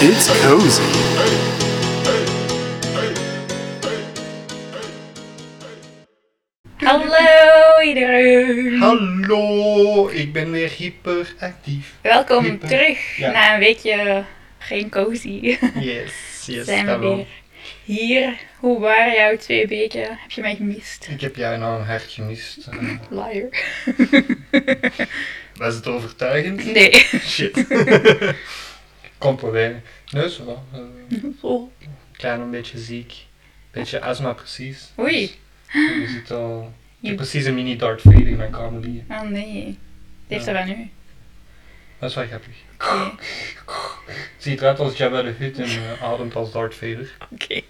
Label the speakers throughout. Speaker 1: It's cozy.
Speaker 2: Hallo iedereen!
Speaker 3: Hallo, ik ben weer hyperactief.
Speaker 2: Welkom
Speaker 3: Hyper.
Speaker 2: terug
Speaker 3: Ja.
Speaker 2: na een weekje geen cozy.
Speaker 3: Yes, yes,
Speaker 2: Zijn we
Speaker 3: dat wel.
Speaker 2: weer hier. Hoe waren jouw twee weken? Heb je mij gemist?
Speaker 3: Ik heb jou nou een hart gemist. Eh,
Speaker 2: Liar.
Speaker 3: was het overtuigend?
Speaker 2: Nee.
Speaker 3: Shit. Kom proberen. Nee, zo wel. Eh,
Speaker 2: Oh.
Speaker 3: Klein een beetje ziek. Beetje astma precies.
Speaker 2: Oei.
Speaker 3: Dus Je ziet al... Ik
Speaker 2: Je-
Speaker 3: heb precies een mini Darth Vader in mijn kamer liggen.
Speaker 2: Oh nee. Dit heeft
Speaker 3: Ja.
Speaker 2: er wel nu.
Speaker 3: Dat is wel grappig.
Speaker 2: Oké.
Speaker 3: Ziet eruit als Jabba de Hutt en eh, ademt als Darth Vader.
Speaker 2: Oké.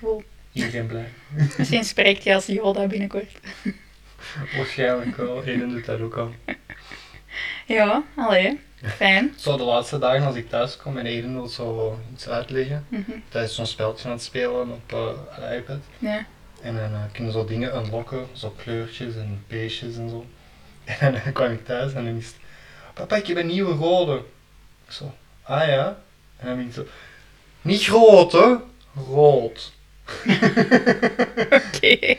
Speaker 2: Cool.
Speaker 3: Iedereen blij.
Speaker 2: Misschien spreekt hij als Yoda binnenkort.
Speaker 3: Waarschijnlijk wel. Eden doet dat ook al.
Speaker 2: Ja, allee. Fijn.
Speaker 3: Zo de laatste dagen als ik thuis kom en Eden wil zo iets uitleggen.
Speaker 2: Mhm.
Speaker 3: Dat is zo'n speltje aan het spelen op eh, de iPad.
Speaker 2: Ja.
Speaker 3: En dan eh, kunnen zo dingen unlocken, zo kleurtjes en beestjes en zo. En dan kwam ik thuis en dan is het, papa ik heb een nieuwe rode. Ik zo, ah ja. En dan ben ik zo, niet rood hè, rood.
Speaker 2: Oké.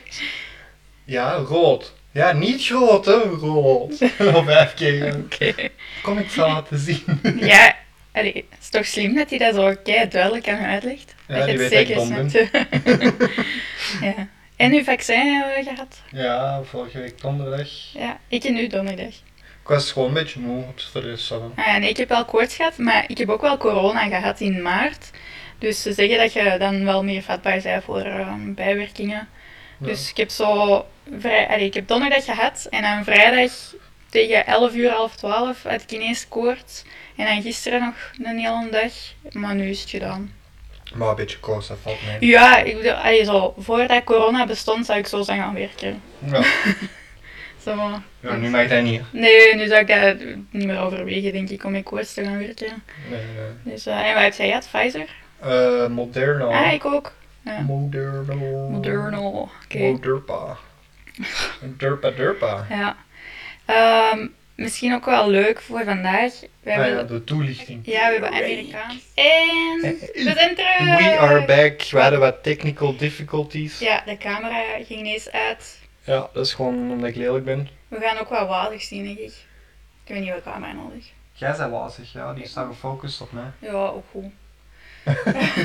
Speaker 3: Ja, rood. Ja, niet groot hè, rood. Al vijf keer. eh,
Speaker 2: Oké.
Speaker 3: Kom ik zo laten zien.
Speaker 2: Ja, allee, het is toch slim dat hij dat zo kei duidelijk aan me uitlegt?
Speaker 3: Ja,
Speaker 2: dat je
Speaker 3: die
Speaker 2: het
Speaker 3: weet dat
Speaker 2: zeker
Speaker 3: ik dom
Speaker 2: snapt. ja. En uw vaccin hebben we gehad.
Speaker 3: Ja, vorige week donderdag.
Speaker 2: Ja, ik en u donderdag.
Speaker 3: Ik was gewoon een beetje moe op de rest van.
Speaker 2: Ah, ja, nee, ik heb wel koorts gehad, maar ik heb ook wel corona gehad in maart. Dus ze zeggen dat je dan wel meer vatbaar bent voor ehm, bijwerkingen. Dus ik heb zo vrij, allee, ik heb donderdag gehad en dan vrijdag tegen 11 uur, half 12 had ik ineens koorts. En dan gisteren nog een hele dag, maar nu is het gedaan.
Speaker 3: Maar een beetje koos, dat valt mee.
Speaker 2: Ja, ik bedoel, allee, zo, voordat corona bestond zou ik zo zijn gaan werken.
Speaker 3: Ja.
Speaker 2: Zo.
Speaker 3: Ja, nu mag dat niet.
Speaker 2: Nee, nu zou ik dat niet meer overwegen, denk ik, om in koorts te gaan werken.
Speaker 3: Nee, nee, nee.
Speaker 2: Dus, eh, en wat heb jij gehad? Pfizer?
Speaker 3: Eh, Moderna.
Speaker 2: Ah, ik ook. Ja.
Speaker 3: Moderna.
Speaker 2: Moderna. Oké.
Speaker 3: Moderpa. Derpa derpa.
Speaker 2: Ja. Ehm, misschien ook wel leuk voor vandaag. We
Speaker 3: Ah ja,
Speaker 2: hebben,
Speaker 3: de toelichting.
Speaker 2: ja, we hebben Amerikaans. En we zijn terug!
Speaker 3: eh, We are back. We hadden wat technical difficulties.
Speaker 2: Ja, de camera ging ineens uit.
Speaker 3: Ja, dat is gewoon omdat ik lelijk ben.
Speaker 2: We gaan ook wel wazig zien, denk ik. Ik heb een nieuwe camera nodig.
Speaker 3: Jij bent wazig, ja. Die staat gefocust op mij.
Speaker 2: Ja, ook goed.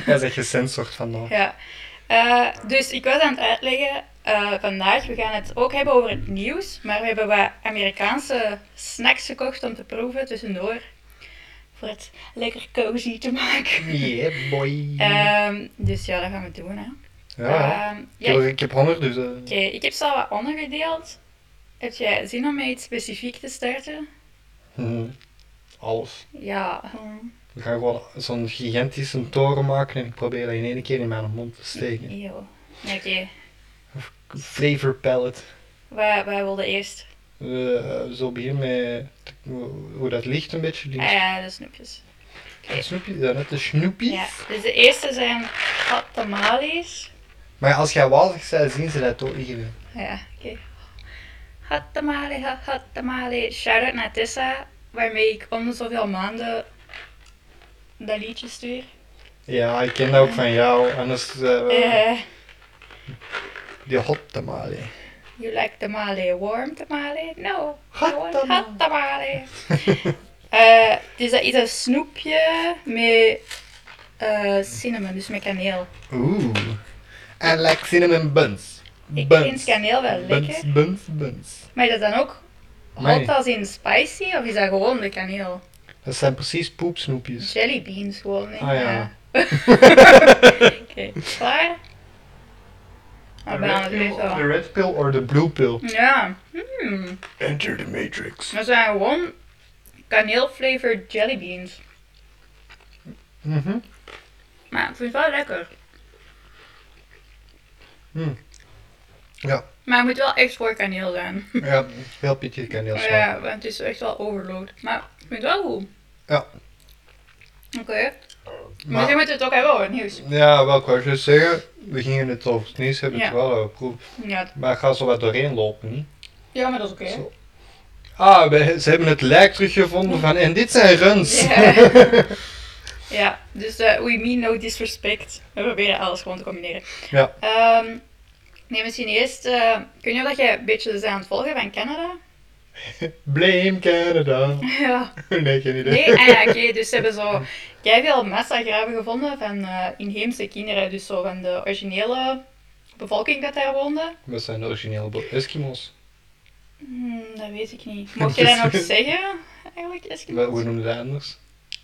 Speaker 3: Jij bent gesensord vandaag.
Speaker 2: Ja. Eh, dus ik was aan het uitleggen eh, vandaag, we gaan het ook hebben over het nieuws, maar we hebben wat Amerikaanse snacks gekocht om te proeven tussendoor. Voor het lekker cozy te maken.
Speaker 3: Yeah, boy.
Speaker 2: Ehm, dus ja, dat gaan we doen. Hè.
Speaker 3: ja,
Speaker 2: Ehm,
Speaker 3: ik
Speaker 2: ja,
Speaker 3: heb,
Speaker 2: Oké,
Speaker 3: ik heb honger, dus... eh,
Speaker 2: ik heb ze al wat ondergedeeld. Heb jij zin om met iets specifiek te starten?
Speaker 3: hm, Alles.
Speaker 2: Ja. hm,
Speaker 3: We gaan gewoon zo'n gigantische toren maken en ik probeer dat in één keer in mijn mond te steken.
Speaker 2: Eeuw. Oké,
Speaker 3: Flavor palette.
Speaker 2: wij, wij wilden eerst
Speaker 3: Eh, zo beginnen met hoe dat ligt een beetje. Die
Speaker 2: eh, de snoepjes.
Speaker 3: snoepje, snoepjes, dat net de snoepjes.
Speaker 2: Ja, dus de eerste zijn hot tamales.
Speaker 3: Maar als jij wazig bent, zien ze dat toch hier.
Speaker 2: Ja, oké. Hot tamale, hot, hot tamale. Shout-out naar Tessa, waarmee ik om de zoveel maanden dat liedje stuur.
Speaker 3: Ja, ik ken dat ook van jou. Anders eh
Speaker 2: Eh,
Speaker 3: die hot tamale.
Speaker 2: you like tamale, warm tamale? No, I
Speaker 3: Hot
Speaker 2: want
Speaker 3: tamale.
Speaker 2: hot tamale. Eh, Het is dat iets een snoepje met eh, cinnamon, dus met kaneel.
Speaker 3: Oeh. I like cinnamon buns.
Speaker 2: Ik vind
Speaker 3: Buns.
Speaker 2: kaneel wel lekker.
Speaker 3: Buns, buns, buns.
Speaker 2: Maar is dat dan ook hot
Speaker 3: Amai.
Speaker 2: als in spicy of is dat gewoon de kaneel?
Speaker 3: Dat zijn precies poepsnoepjes.
Speaker 2: Jelly beans gewoon. hè.
Speaker 3: Ah ja.
Speaker 2: Oké, klaar? Ah, we gaan het weer
Speaker 3: the
Speaker 2: zo.
Speaker 3: red pill or the blue pill?
Speaker 2: Ja, hmm.
Speaker 3: Enter the matrix.
Speaker 2: dat zijn gewoon kaneelflavored jellybeans.
Speaker 3: Mhm.
Speaker 2: Maar ik vind het wel lekker.
Speaker 3: Mm. Ja.
Speaker 2: Maar het moet wel echt voor kaneel zijn.
Speaker 3: Ja, heel pittig kaneel smaak.
Speaker 2: Ja, want het is echt wel overload. Maar ik vind het wel goed.
Speaker 3: Ja.
Speaker 2: Oké, maar
Speaker 3: Maar-
Speaker 2: misschien moeten we het ook hebben over het nieuws.
Speaker 3: Ja, wel, ik wou juist zeggen, we gingen het over het nieuws hebben,
Speaker 2: Ja.
Speaker 3: terwijl we proef.
Speaker 2: Ja,
Speaker 3: Maar ik ga zo wat doorheen lopen, niet?
Speaker 2: ja maar dat is oké.
Speaker 3: Zo. Ah, we- ze hebben het lijk teruggevonden van, en dit zijn runs.
Speaker 2: Ja. Ja, dus eh, we mean no disrespect. We proberen alles gewoon te combineren.
Speaker 3: Ja.
Speaker 2: Ehm, nee, misschien eerst... eh, kun je dat jij een beetje dus aan het volgen van Canada?
Speaker 3: Blame Canada.
Speaker 2: ja.
Speaker 3: nee, geen idee.
Speaker 2: Nee, ah ja, oké. dus ze hebben zo veel massagraven gevonden van eh, inheemse kinderen. Dus zo van de originele bevolking dat daar woonde.
Speaker 3: Wat zijn de originele bo- Eskimo's?
Speaker 2: Hmm, dat weet ik niet. Mocht je dat nog zeggen, eigenlijk,
Speaker 3: Wat- Hoe
Speaker 2: Eskimo's?
Speaker 3: noemen ze dat anders?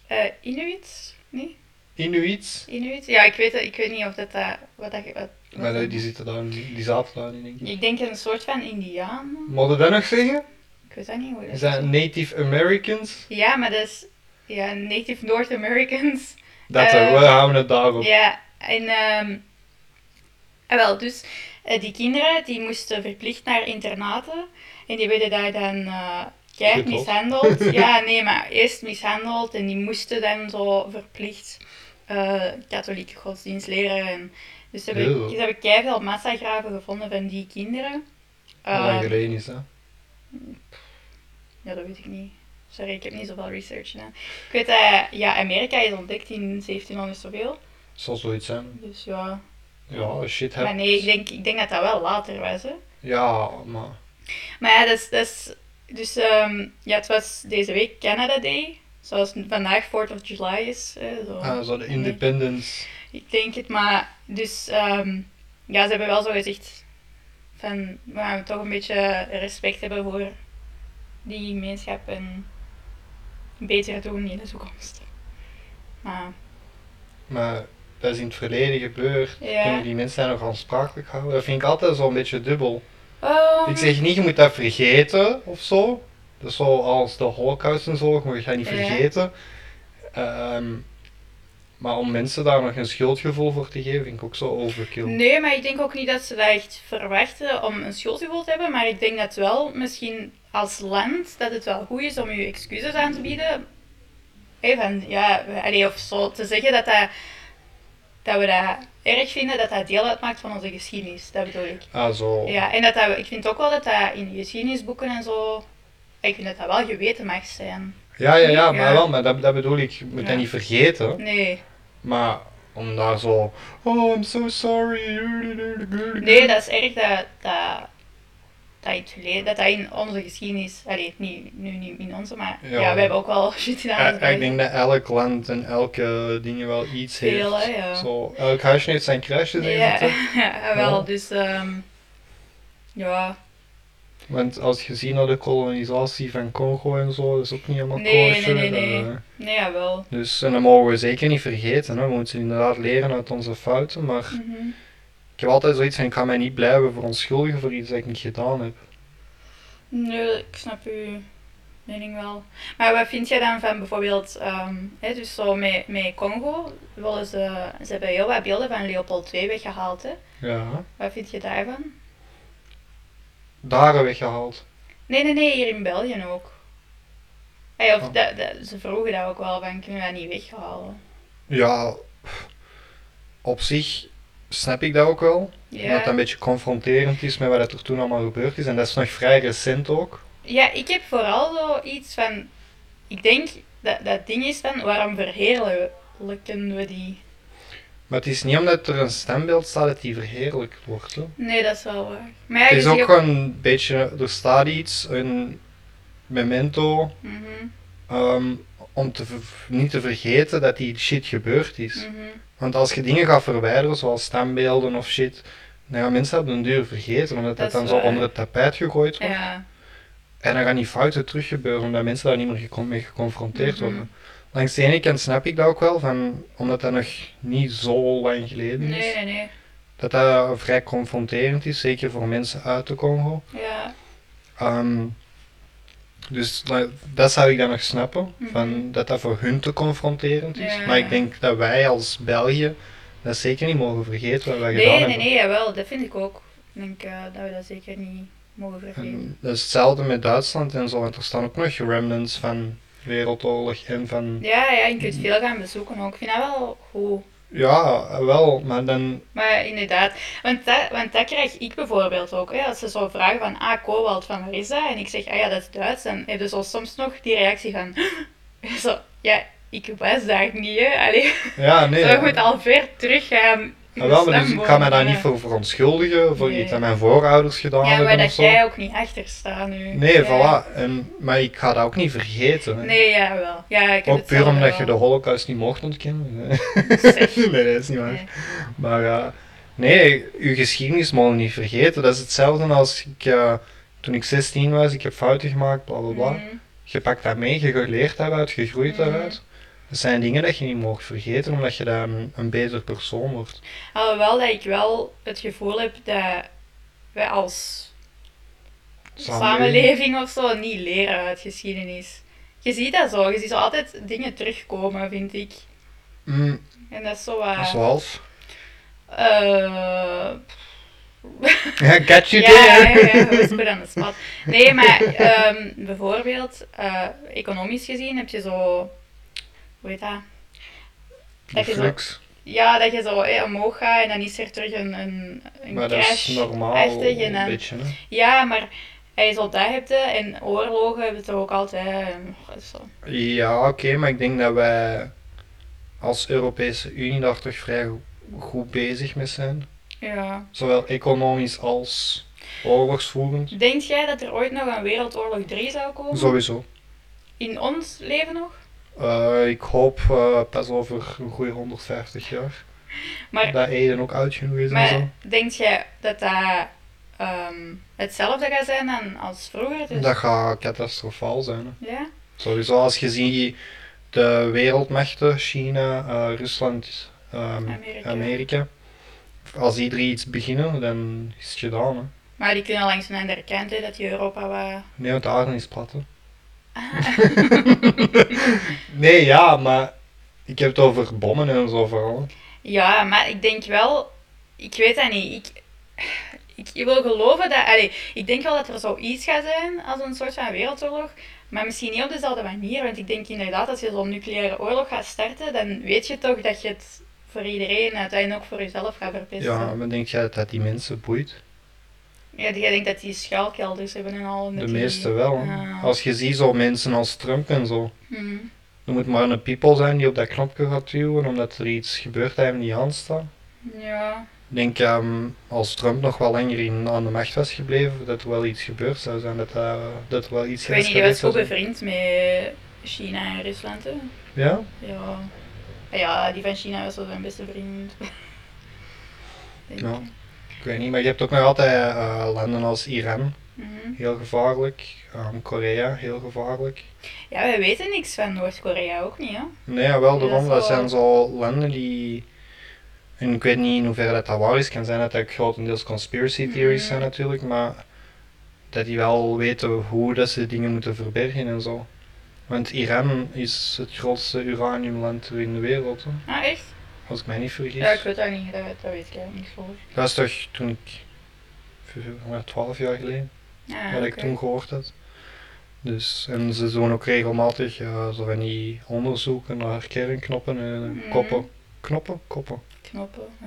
Speaker 2: Eh Inuit? Nee?
Speaker 3: Inuits?
Speaker 2: Inuit? Ja, ik weet, ik weet niet of dat... dat wat dat wat, wat
Speaker 3: Maar die-
Speaker 2: dat-
Speaker 3: die zitten daar, die zaten daar niet, denk ik.
Speaker 2: Ik denk een soort van Indiaan.
Speaker 3: Moet je dat nog zeggen?
Speaker 2: Ik weet dat niet hoe dat
Speaker 3: Is dat Native Americans?
Speaker 2: Ja, maar dat is... Ja, Native North Americans.
Speaker 3: Dat
Speaker 2: Eh,
Speaker 3: er, we houden het daarop.
Speaker 2: Ja, en... ehm ah, wel, dus eh, die kinderen die moesten verplicht naar internaten. En die werden daar dan eh keihard
Speaker 3: Getopt.
Speaker 2: mishandeld. Ja, nee, maar eerst mishandeld. En die moesten dan zo verplicht eh, katholieke godsdienst leren. En, dus ze hebben,
Speaker 3: Eeuw.
Speaker 2: ze hebben keiveel massagraven gevonden van die kinderen.
Speaker 3: Hoe lang
Speaker 2: Ehm,
Speaker 3: geleden is dat?
Speaker 2: Ja, dat weet ik niet. Sorry, ik heb niet zoveel research gedaan. Ik weet dat ja, Amerika is ontdekt in 1700 zoveel.
Speaker 3: Zal zoiets zijn.
Speaker 2: Dus ja.
Speaker 3: Ja, shit
Speaker 2: Maar
Speaker 3: happens.
Speaker 2: nee, ik denk, ik denk dat dat wel later was. Hè.
Speaker 3: Ja, maar...
Speaker 2: Maar ja, dat is. Dat is dus ehm, ja, het was deze week Canada Day. Zoals vandaag 4th of July is. hè, zo.
Speaker 3: Ah, zo de independence.
Speaker 2: Ik denk het, maar. Dus ehm, ja, ze hebben wel zo gezegd. Van we gaan toch een beetje respect hebben voor die gemeenschap en beter doen in de toekomst. Maar
Speaker 3: Maar dat is in het verleden gebeurd.
Speaker 2: Ja.
Speaker 3: Kunnen die mensen daar nog aansprakelijk houden? Dat vind ik altijd zo'n beetje dubbel.
Speaker 2: Ehm,
Speaker 3: Ik zeg niet, je moet dat vergeten of zo. Dus zo als de holocaust en zo, je moet dat niet
Speaker 2: Ja.
Speaker 3: vergeten. Ehm, maar om mensen daar nog een schuldgevoel voor te geven, vind ik ook zo overkill.
Speaker 2: Nee, maar ik denk ook niet dat ze dat echt verwachten om een schuldgevoel te hebben. Maar ik denk dat wel, misschien als land, dat het wel goed is om je excuses aan te bieden. Even, ja, we- allee, of zo te zeggen dat, dat, dat we dat erg vinden, dat dat deel uitmaakt van onze geschiedenis. Dat bedoel ik.
Speaker 3: Ah, zo.
Speaker 2: Ja, en dat, dat ik vind ook wel dat dat in de geschiedenisboeken en zo, ik vind dat dat wel geweten mag zijn.
Speaker 3: Ja, ja, ja, maar
Speaker 2: Ja.
Speaker 3: wel, maar dat, dat bedoel ik. Je moet
Speaker 2: Ja.
Speaker 3: dat niet vergeten.
Speaker 2: Nee,
Speaker 3: Maar om daar zo... Oh, I'm so sorry.
Speaker 2: nee dat is erg dat dat, dat, in het verleden- dat, dat in onze geschiedenis, allee, niet, nu niet in onze, maar ja,
Speaker 3: Ja.
Speaker 2: we hebben ook wel shit gedaan. als
Speaker 3: Ja, ik
Speaker 2: België.
Speaker 3: denk dat elk land en elke ding wel iets
Speaker 2: Veel,
Speaker 3: heeft.
Speaker 2: hè, ja.
Speaker 3: Zo, elk huisje heeft zijn crashes
Speaker 2: Ja,
Speaker 3: en
Speaker 2: ja, wel,
Speaker 3: Ja.
Speaker 2: dus ehm, ja,
Speaker 3: Want als je ziet naar de kolonisatie van Congo en zo, dat is ook niet helemaal
Speaker 2: Nee,
Speaker 3: kosher.
Speaker 2: nee, nee, nee.
Speaker 3: eh,
Speaker 2: nee, jawel.
Speaker 3: dus en dat mogen we zeker niet vergeten. Hè. We moeten inderdaad leren uit onze fouten. Maar
Speaker 2: Mhm.
Speaker 3: ik heb altijd zoiets van, ik kan mij niet blijven verontschuldigen voor iets dat ik niet gedaan heb.
Speaker 2: Nee, ik snap uw mening wel. Maar wat vind jij dan van bijvoorbeeld, ehm, hè, dus zo met, met Congo, willen ze, ze hebben heel wat beelden van Leopold II weggehaald. Hè?
Speaker 3: Ja.
Speaker 2: Wat vind je daarvan?
Speaker 3: Daar weggehaald.
Speaker 2: Nee, nee, nee, hier in België ook. Hey, of
Speaker 3: Oh.
Speaker 2: dat- dat- ze vroegen daar ook wel van, kunnen we dat niet weghalen?
Speaker 3: Ja, op zich snap ik dat ook wel. Omdat
Speaker 2: Ja.
Speaker 3: dat een beetje confronterend is met wat er toen allemaal gebeurd is. En dat is nog vrij recent ook.
Speaker 2: ja, ik heb vooral zo iets van, ik denk dat dat ding is van, waarom verheerlijken we die?
Speaker 3: Maar het is niet omdat er een standbeeld staat dat die verheerlijk wordt. Hè.
Speaker 2: Nee, dat is wel waar. Maar ja,
Speaker 3: Het
Speaker 2: je
Speaker 3: is
Speaker 2: ziet
Speaker 3: ook gewoon een beetje, er staat iets, een memento,
Speaker 2: Mhm,
Speaker 3: ehm, om te ver- niet te vergeten dat die shit gebeurd is.
Speaker 2: mhm.
Speaker 3: Want als je dingen gaat verwijderen, zoals standbeelden of shit, dan gaan mensen dat op den duur vergeten,
Speaker 2: Dat
Speaker 3: omdat dat,
Speaker 2: is
Speaker 3: dan zo
Speaker 2: waar.
Speaker 3: onder het tapijt gegooid wordt.
Speaker 2: Ja.
Speaker 3: En dan gaan die fouten terug gebeuren, omdat mensen daar niet meer gecon- mee geconfronteerd
Speaker 2: Mhm.
Speaker 3: worden. Langs de ene kant snap ik dat ook wel, van, omdat dat nog niet zo lang geleden is.
Speaker 2: Nee, nee, nee.
Speaker 3: dat dat vrij confronterend is, zeker voor mensen uit de Congo.
Speaker 2: Ja,
Speaker 3: Ehm, dus nou, dat zou ik dan nog snappen,
Speaker 2: Mhm.
Speaker 3: van, dat dat voor hun te confronterend is.
Speaker 2: Ja.
Speaker 3: Maar ik denk dat wij als België dat zeker niet mogen vergeten wat wij gedaan
Speaker 2: nee, nee,
Speaker 3: hebben.
Speaker 2: nee, jawel, dat vind ik ook. Ik denk eh, dat we dat zeker niet mogen vergeten.
Speaker 3: En dat is hetzelfde met Duitsland en zo, want er staan ook nog remnants van Wereldoorlog en van...
Speaker 2: Ja, ja, je kunt veel gaan bezoeken ook. Ik vind dat wel goed.
Speaker 3: Ja, wel, maar dan...
Speaker 2: Maar inderdaad, want dat, want dat krijg ik bijvoorbeeld ook. Hè. Als ze zo vragen van, ah, Kowald, van waar is dat? En ik zeg, ah ja, dat is Duits. Dan heb je zo soms nog die reactie van, zo, ja, Ik was daar niet, hè. Allee,
Speaker 3: Ja, nee.
Speaker 2: zo moet al ver teruggaan. in
Speaker 3: Ja, wel, maar dus ik kan mij daar
Speaker 2: stambomen.
Speaker 3: niet voor verontschuldigen, voor
Speaker 2: Nee.
Speaker 3: iets dat mijn voorouders gedaan
Speaker 2: eh, Ja,
Speaker 3: hebben
Speaker 2: waar
Speaker 3: of
Speaker 2: dat
Speaker 3: zo.
Speaker 2: jij ook niet achter staat nu.
Speaker 3: Nee,
Speaker 2: Ja.
Speaker 3: voilà. En, maar ik ga dat ook niet vergeten. hè.
Speaker 2: Nee, ja, wel. Ja, ik heb
Speaker 3: ook
Speaker 2: het
Speaker 3: puur
Speaker 2: zelf
Speaker 3: omdat
Speaker 2: wel.
Speaker 3: je de holocaust niet mocht ontkennen. hè.
Speaker 2: Zeg.
Speaker 3: nee, dat is niet waar.
Speaker 2: Nee.
Speaker 3: Maar eh, nee, uw geschiedenis mag je niet vergeten. Dat is hetzelfde als ik, eh, toen ik 16 was, ik heb fouten gemaakt, bla bla bla.
Speaker 2: Mhm.
Speaker 3: Je pakt dat mee, je leert daaruit, je groeit
Speaker 2: Mhm.
Speaker 3: daaruit. Dat zijn dingen dat je niet mag vergeten, omdat je daar een, een beter persoon wordt.
Speaker 2: Alhoewel dat ik wel het gevoel heb dat wij als samenleving of zo niet leren uit geschiedenis. Je ziet dat zo, je ziet zo altijd dingen terugkomen, vind ik.
Speaker 3: Mm,
Speaker 2: En dat is zo wat...
Speaker 3: dat is wel half.
Speaker 2: eh,
Speaker 3: Ja, catch you
Speaker 2: ja, ja,
Speaker 3: there.
Speaker 2: ja, whisper aan de spot. Nee, maar ehm, bijvoorbeeld, eh, economisch gezien heb je zo... Hoe heet dat? Dat je zo
Speaker 3: Flux.
Speaker 2: Ja, dat je zo eh, omhoog gaat en dan is er terug een, een, een
Speaker 3: Maar dat
Speaker 2: crash.
Speaker 3: is normaal.
Speaker 2: Echt, en
Speaker 3: een
Speaker 2: dan-
Speaker 3: beetje. hè.
Speaker 2: Ja, maar hij zo dat hebt hè, en oorlogen hebben toch ook altijd. en, goh, dat is zo.
Speaker 3: Ja, oké, maar ik denk dat wij als Europese Unie daar toch vrij go- goed bezig mee zijn.
Speaker 2: Ja.
Speaker 3: Zowel economisch als oorlogsvoerend.
Speaker 2: Denk jij dat er ooit nog een Wereldoorlog 3 zou komen?
Speaker 3: Sowieso.
Speaker 2: In ons leven nog?
Speaker 3: Eh, ik hoop eh, pas over een goede 150 jaar
Speaker 2: Maar,
Speaker 3: dat Eden ook oud genoeg is en zo.
Speaker 2: maar denk jij dat dat ehm, hetzelfde gaat zijn dan als vroeger? Dus,
Speaker 3: Dat gaat catastrofaal zijn. Hè.
Speaker 2: Ja?
Speaker 3: Sowieso als je ziet de wereldmachten, China, eh, Rusland, ehm,
Speaker 2: Amerika.
Speaker 3: Amerika. Als die drie iets beginnen, dan is het gedaan. Hè.
Speaker 2: Maar die kunnen langs een andere kant, hè, dat die Europa wat...
Speaker 3: Nee, want de aarde is plat. hè.
Speaker 2: Ah,
Speaker 3: Nee, ja, maar ik heb het over bommen en zo vooral.
Speaker 2: Ja, maar ik denk wel, ik weet dat niet. Ik, ik wil geloven dat, allee, ik denk wel dat er zoiets gaat zijn als een soort van wereldoorlog, maar misschien niet op dezelfde manier. Want ik denk inderdaad, als je zo'n nucleaire oorlog gaat starten, dan weet je toch dat je het voor iedereen uiteindelijk ook voor jezelf gaat verpesten.
Speaker 3: Ja,
Speaker 2: Ja,
Speaker 3: maar denk jij dat dat die mensen boeit?
Speaker 2: jij denkt dat die schuilkelders hebben en al. met
Speaker 3: De
Speaker 2: die- Ah.
Speaker 3: meeste wel. hè.
Speaker 2: Ja.
Speaker 3: Als je ziet zo mensen als Trump en zo.
Speaker 2: Mhm.
Speaker 3: Er moet maar een people zijn die op dat knopje gaat duwen omdat er iets gebeurt dat hem niet aanstaat.
Speaker 2: Ja,
Speaker 3: Ik denk ehm, als Trump nog wel langer in, aan de macht was gebleven, dat er wel iets gebeurd zou zijn. Dat, eh, dat er wel iets
Speaker 2: ik weet niet, je
Speaker 3: geëscaleerd
Speaker 2: was
Speaker 3: zou
Speaker 2: goed
Speaker 3: zijn.
Speaker 2: bevriend met China en Rusland, hè?
Speaker 3: Ja?
Speaker 2: Ja. Ah ja, die van China was wel mijn beste vriend. Denk
Speaker 3: Ja.
Speaker 2: ik.
Speaker 3: Nou, Ik weet niet, maar je hebt ook nog altijd eh, landen als Iran,
Speaker 2: Mhm.
Speaker 3: heel gevaarlijk. Ehm, Korea, heel gevaarlijk.
Speaker 2: Ja, wij weten niks van Noord-Korea ook niet, hè?
Speaker 3: Nee, ja, wel,
Speaker 2: Ja,
Speaker 3: daarom.
Speaker 2: zo-
Speaker 3: Dat zijn zo landen die. En ik weet niet in hoeverre dat, dat waar is. kan zijn dat dat grotendeels conspiracy theories
Speaker 2: Mhm.
Speaker 3: zijn, natuurlijk. Maar dat die wel weten hoe dat ze dingen moeten verbergen en zo. Want Iran is het grootste uraniumland er in de wereld, hè,
Speaker 2: Ah, echt?
Speaker 3: als ik mij niet vergis.
Speaker 2: Ja, ik weet daar niet, dat, dat weet ik eigenlijk niet voor.
Speaker 3: Dat is toch toen ik. v- maar 12 jaar geleden,
Speaker 2: Ah,
Speaker 3: wat ik
Speaker 2: oké.
Speaker 3: toen gehoord had. Dus, en ze doen ook regelmatig eh, zo van die onderzoeken naar kernknoppen en
Speaker 2: Mhm.
Speaker 3: koppen. Knoppen? Koppen.
Speaker 2: Knoppen, ja.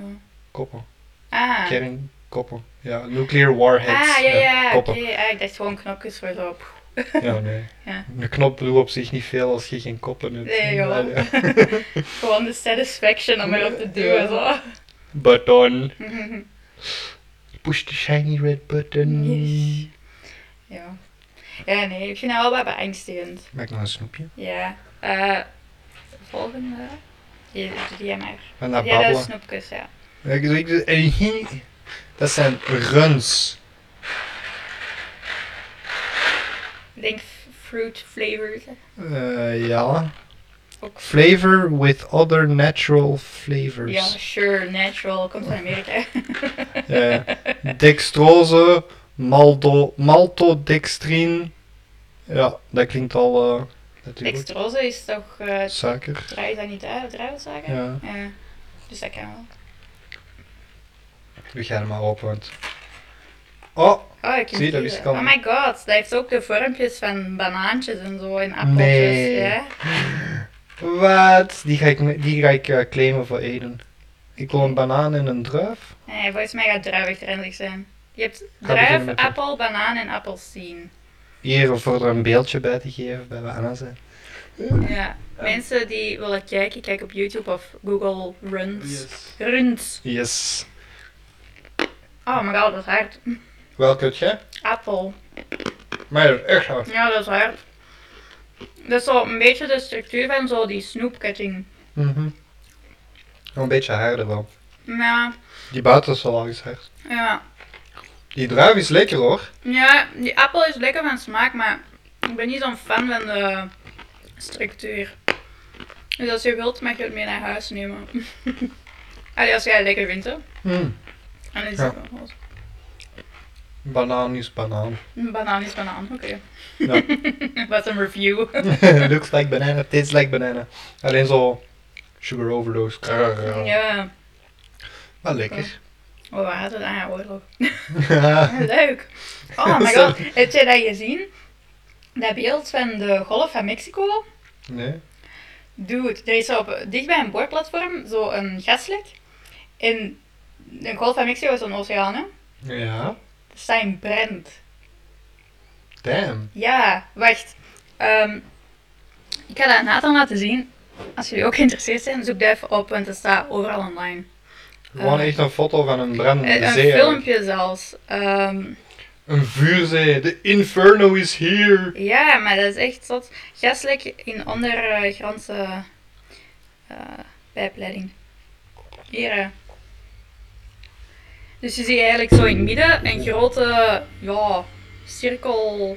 Speaker 3: Koppen.
Speaker 2: Ah.
Speaker 3: Kernkoppen. Ja, nuclear warheads.
Speaker 2: Ah, ja, ja, oké.
Speaker 3: koppen.
Speaker 2: Ah, ik dacht gewoon knopjes voor zo. pff.
Speaker 3: Ja, nee.
Speaker 2: Ja.
Speaker 3: Een knop doet op zich niet veel als je geen koppen hebt.
Speaker 2: Nee, joh.
Speaker 3: Ja.
Speaker 2: Gewoon de satisfaction om erop te duwen, zo.
Speaker 3: Button. Push the shiny red button.
Speaker 2: Yes. ja. Ja, nee, ik vind dat wel wat beangstigend.
Speaker 3: Maak nog een snoepje.
Speaker 2: Ja, eh volgende. Je, doe jij maar.
Speaker 3: En dat
Speaker 2: ja, dat is
Speaker 3: Ah, babbelen.
Speaker 2: snoepjes, ja.
Speaker 3: Ja, ik doe- ik doe- en hier- Dat zijn runs.
Speaker 2: Ik denk f- fruit flavored.
Speaker 3: Eh, ja.
Speaker 2: Ook
Speaker 3: Flavor with other natural flavors.
Speaker 2: Ja, sure, natural, komt van Amerika.
Speaker 3: Ja, ja. Eh, Dextrose, malto, maltodextrin. Ja, dat klinkt al eh natuurlijk.
Speaker 2: Dextrose is toch, eh
Speaker 3: Suiker.
Speaker 2: draai je dat niet uit, druivenzaken?
Speaker 3: Ja.
Speaker 2: ja. Dus dat kan wel.
Speaker 3: Doe jij er maar op, want... Oh,
Speaker 2: Oh, ik
Speaker 3: Zie, dat wist ik al
Speaker 2: Oh
Speaker 3: niet.
Speaker 2: my god, dat heeft ook de vormpjes van banaantjes en zo en appeltjes.
Speaker 3: Nee.
Speaker 2: Ja?
Speaker 3: wat? Die ga ik, me- die ga ik eh, claimen voor Eden. Ik wil een banaan en een druif.
Speaker 2: Nee, volgens mij gaat druivig trendig zijn. Je hebt
Speaker 3: beginnen
Speaker 2: druif,
Speaker 3: met dat.
Speaker 2: appel, banaan en appelsien.
Speaker 3: Hier, of voor er een beeldje bij te geven bij wat Anna zei.
Speaker 2: Ja. Mensen die willen kijken, kijk op YouTube of Google Runs.
Speaker 1: Yes.
Speaker 2: Runs.
Speaker 3: Yes.
Speaker 2: Oh my god, dat is hard.
Speaker 3: Welke het jij?
Speaker 2: Appel.
Speaker 3: Maar dat is echt hard.
Speaker 2: Ja, dat is hard. Dat is zo een beetje de structuur van zo die snoepketting.
Speaker 3: Mhm. Wel Een beetje harder wel.
Speaker 2: Ja,
Speaker 3: Die buiten is wel al eens hard.
Speaker 2: ja.
Speaker 3: Die druif is lekker hoor.
Speaker 2: Ja, die appel is lekker van smaak, maar ik ben niet zo'n fan van de structuur. Dus als je wilt, mag je het mee naar huis nemen. Allee, als jij het lekker vindt, hè.
Speaker 3: Mm.
Speaker 2: Dan is
Speaker 3: Ja.
Speaker 2: het wel goed.
Speaker 3: Banaan is banaan.
Speaker 2: Een Banaan is banaan, oké.
Speaker 3: Ja.
Speaker 2: Wat een review.
Speaker 3: Looks like banana, tastes like banana. Alleen zo sugar overdose. Ja.
Speaker 2: Ja,
Speaker 3: Wel lekker.
Speaker 2: we waren het ah, aan oorlog.
Speaker 3: Ja.
Speaker 2: Leuk. Oh my
Speaker 3: Zo.
Speaker 2: god, heb je dat gezien? Dat beeld van de golf van Mexico?
Speaker 3: nee.
Speaker 2: Dude, er is op, dicht bij een boorplatform zo'n gaslek. En de Golf van Mexico is een oceaan, hè?
Speaker 3: Ja.
Speaker 2: Dat staat in brand.
Speaker 3: Damn.
Speaker 2: Ja, wacht. Ehm, ik ga dat aan Nathan laten zien. Als jullie ook geïnteresseerd zijn, zoek dat even op, want het staat overal online.
Speaker 3: Gewoon
Speaker 2: Eh.
Speaker 3: echt een foto van een brandende
Speaker 2: Eh, een
Speaker 3: zee. eigenlijk.
Speaker 2: filmpje zelfs. Ehm,
Speaker 3: Een vuurzee. De inferno is here.
Speaker 2: ja, maar dat is echt zot. Gaslek in ondergrondse eh pijpleiding. Hier. eh. Dus je ziet eigenlijk zo in het midden een grote, ja, cirkel.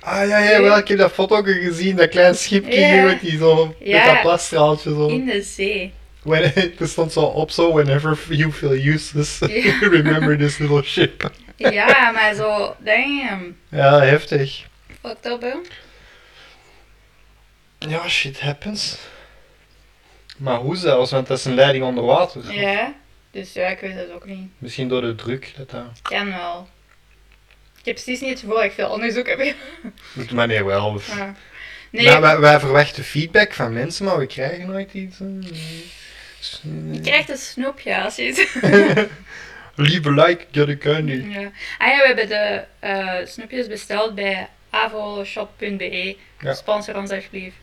Speaker 3: Ah ja, ja, wel. Ik heb dat foto ook gezien. Dat klein schipje
Speaker 2: Ja.
Speaker 3: hier met die zo. Met
Speaker 2: Ja.
Speaker 3: dat plasstraaltje zo.
Speaker 2: In de zee.
Speaker 3: When er stond zo op zo, whenever you feel useless,
Speaker 2: Ja.
Speaker 3: remember this little ship.
Speaker 2: Ja, maar zo, damn.
Speaker 3: Ja, heftig.
Speaker 2: Fucked up, hè?
Speaker 3: Ja, shit happens. Maar hoe zelfs, want dat is een leiding onder water.
Speaker 2: Ja. Dus ja, ik weet het ook niet.
Speaker 3: Misschien door de druk. Dat daar.
Speaker 2: Kan wel. Ik heb precies niet het gevoel dat ik veel onderzoek heb gedaan.
Speaker 3: Doet de manier wel. of-
Speaker 2: Maar-
Speaker 3: Maar wij, wij verwachten feedback van mensen, maar we krijgen nooit iets. eh, s-
Speaker 2: Je krijgt een snoepje als je het...
Speaker 3: Lieve like, get a candy.
Speaker 2: Ja. Ah ja, we hebben de eh, snoepjes besteld bij avoshop.be.
Speaker 3: Ja.
Speaker 2: Sponsor ons alsjeblieft.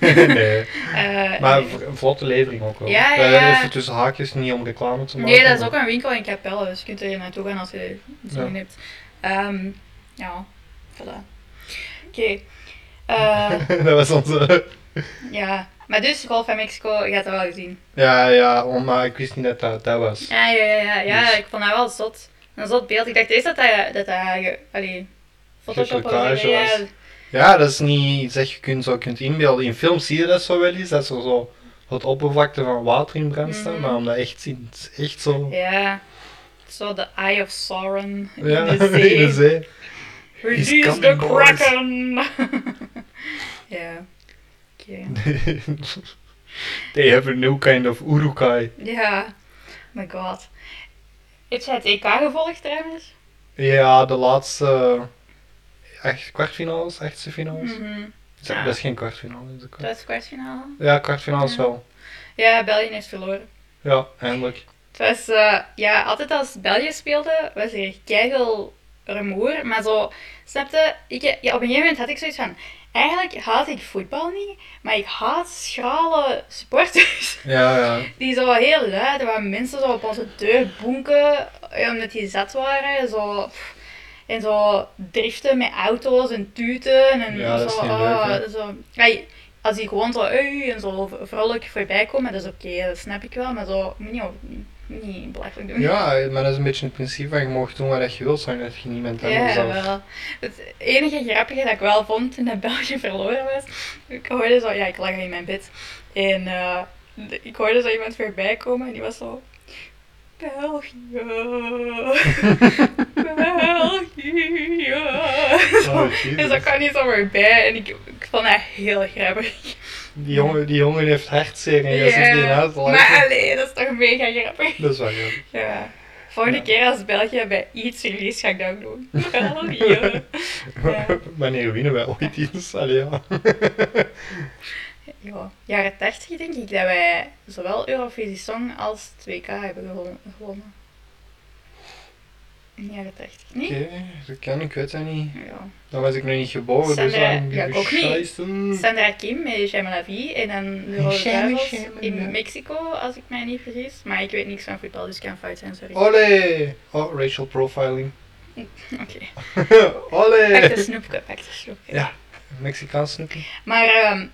Speaker 3: nee.
Speaker 2: Eh,
Speaker 3: Maar
Speaker 2: nee.
Speaker 3: v- een vlotte levering ook wel.
Speaker 2: Ja, ja,
Speaker 3: We hebben
Speaker 2: ja.
Speaker 3: even tussen haakjes niet om reclame te maken.
Speaker 2: nee, dat is
Speaker 3: maar-
Speaker 2: ook een winkel in Capelle, dus je kunt er naartoe gaan als je zin
Speaker 3: Ja.
Speaker 2: hebt. Ehm, ja, voilà. Oké. Eh,
Speaker 3: dat was onze.
Speaker 2: ja, maar dus Golf van Mexico, je hebt dat wel gezien.
Speaker 3: Ja, ja, oh, maar ik wist niet dat dat, dat was.
Speaker 2: Ja, ja, ja, ja, ja
Speaker 3: Dus-
Speaker 2: ik vond dat wel zot. Een zot beeld. Ik dacht eerst dat hij, dat hij, ge- allee, Photoshop of zo,
Speaker 3: Geplakage
Speaker 2: ja,
Speaker 3: was. Ja, dat is niet iets dat je kunt, zo kunt inbeelden. In films zie je dat zo wel eens, dat ze zo het oppervlakte van water in brand staan,
Speaker 2: Mhm.
Speaker 3: maar om dat echt te zien, het is echt zo.
Speaker 2: Ja, zo de Eye of Sauron in
Speaker 3: Ja,
Speaker 2: de zee.
Speaker 3: in de zee. He's
Speaker 2: Release the
Speaker 3: coming, boys.
Speaker 2: Kraken! ja, oké.
Speaker 3: They have a new kind of urukai.
Speaker 2: Ja, Oh my god. Heb jij het EK gevolgd trouwens?
Speaker 3: Ja, de laatste echt kwartfinales, achtste finales.
Speaker 2: Mhm.
Speaker 3: Zeg, Dat is geen kwartfinale. is dat kwart-
Speaker 2: Dat is kwartfinale.
Speaker 3: Ja, kwartfinales
Speaker 2: Ja.
Speaker 3: wel.
Speaker 2: Ja, België heeft verloren.
Speaker 3: Ja, eindelijk.
Speaker 2: Het was, eh, ja, altijd als België speelde, was er keihard rumoer. Maar zo, snapte, ik, ja, op een gegeven moment had ik zoiets van, eigenlijk haat ik voetbal niet, maar ik haat schrale supporters.
Speaker 3: Ja, ja.
Speaker 2: Die zo heel luid, waar mensen zo op onze deur bonken, eh, omdat die zat waren. Zo, pff, en zo driften met auto's en tuten. En
Speaker 3: Ja, dat is
Speaker 2: zo,
Speaker 3: niet
Speaker 2: ah,
Speaker 3: leuk, hè.
Speaker 2: zo. Ai, als die gewoon zo ui en zo vrolijk voorbij komen, dat is oké, dat snap ik wel. Maar zo, moet niet, niet, niet belachelijk doen.
Speaker 3: Ja, maar dat is een beetje het principe van je mag doen wat je wilt, zolang dat je niemand anders
Speaker 2: Ja,
Speaker 3: af-
Speaker 2: wel. Het enige grappige dat ik wel vond toen dat België verloren was, ik hoorde zo, ja, ik lag in mijn bed. En eh, de- ik hoorde zo iemand voorbij komen en die was zo. België. België.
Speaker 3: Oh,
Speaker 2: Zo. En zo
Speaker 3: Jesus.
Speaker 2: Dus kwam hij zo voorbij en ik, ik vond dat heel grappig.
Speaker 3: Die jongen, die jongen heeft hartzeer en jij zit die in uit te lachen.
Speaker 2: maar alleen, dat is toch mega grappig.
Speaker 3: Dat is wel grappig.
Speaker 2: Ja. Volgende
Speaker 3: Ja.
Speaker 2: keer als België bij iets verliest, ga ik dat ook doen. België. Ja.
Speaker 3: Wanneer winnen wij ooit iets? Allee, ja.
Speaker 2: Ja, jaren 80 denk ik dat wij zowel Eurovisie Song als het WK hebben gewon- gewonnen. Ja, dat echt
Speaker 3: Oké,
Speaker 2: niet.
Speaker 3: dat kan, ik weet dat niet.
Speaker 2: Ja.
Speaker 3: Dan was ik nog niet geboren, dus
Speaker 2: Sandra-
Speaker 3: dan
Speaker 2: ja, ik ook niet.
Speaker 3: Hm.
Speaker 2: Sandra Kim met Shema La Vie en dan de
Speaker 3: En
Speaker 2: Rode
Speaker 3: Shema,
Speaker 2: Duivels
Speaker 3: Shema, ja.
Speaker 2: in Mexico, als ik mij niet vergis. Maar ik weet niks van voetbal, dus ik kan fout zijn, sorry.
Speaker 3: Olé! Oh, racial profiling.
Speaker 2: Oké. Pak de
Speaker 3: Olé!
Speaker 2: snoepje, pak de snoepje.
Speaker 3: Ja. Mexicaans snoepje.
Speaker 2: Maar ehm,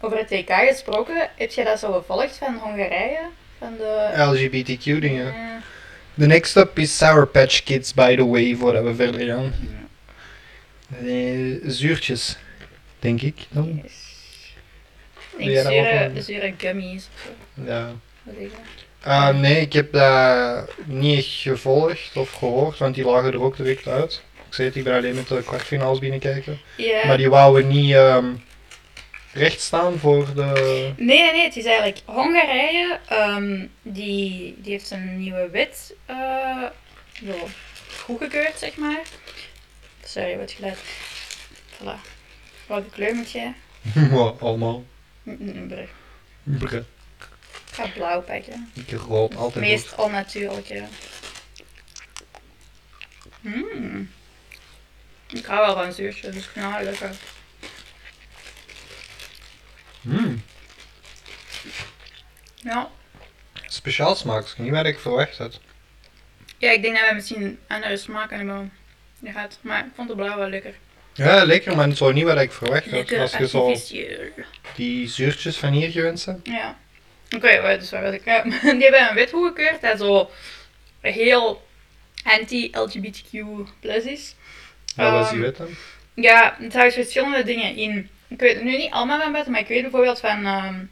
Speaker 2: over het TK gesproken, heb jij dat zo gevolgd van Hongarije? Van de...
Speaker 3: LGBTQ dingen.
Speaker 2: Ja.
Speaker 3: De next up is Sour Patch Kids, by the way, voordat we verder gaan. Eh, zuurtjes, denk ik dan.
Speaker 2: Yes. Ik
Speaker 3: Wil jij
Speaker 2: denk
Speaker 3: daar ook
Speaker 2: zure,
Speaker 3: van?
Speaker 2: zure gummies of zo.
Speaker 3: Ja.
Speaker 2: Wat is dat?
Speaker 3: Ah, nee, ik heb dat niet echt gevolgd of gehoord, want die lagen er ook direct uit. Ik zei het, ik ben alleen met de kwartfinales binnenkijken.
Speaker 2: Ja.
Speaker 3: Maar die wouden niet ehm recht staan voor de.
Speaker 2: Nee, nee, nee, het is eigenlijk Hongarije, ehm, die, die heeft een nieuwe wet eh, ja, goedgekeurd, zeg maar. Sorry, wat geluid. Voilà. Welke kleur moet jij?
Speaker 3: Wow, allemaal.
Speaker 2: Mm, mm, brug.
Speaker 3: Brr.
Speaker 2: Ik ga blauw pakken.
Speaker 3: Ik rood
Speaker 2: Het
Speaker 3: altijd.
Speaker 2: meest onnatuurlijke. Mm. Ik hou wel van zuurtjes, dus ik vind het wel lekker.
Speaker 3: goed. Mm,
Speaker 2: Ja.
Speaker 3: Speciaal smaakje, niet wat ik verwacht had.
Speaker 2: ja, ik denk dat wij misschien andere smaken hebben gehad, maar ik vond de blauw wel lekker.
Speaker 3: Ja, lekker, maar zo niet wat ik verwacht had.
Speaker 2: Lekker
Speaker 3: Als je zo
Speaker 2: artificieel.
Speaker 3: die zuurtjes van hier gewend hebt.
Speaker 2: Ja. Oké, maar dus waar was ik? Ja, die hebben een wet goedgekeurd dat zo heel anti-LGBTQ plus is.
Speaker 3: Wat was
Speaker 2: Ehm,
Speaker 3: die wet dan?
Speaker 2: Ja, het houdt verschillende dingen in. Ik weet het nu niet allemaal van buiten, maar ik weet bijvoorbeeld van... ehm,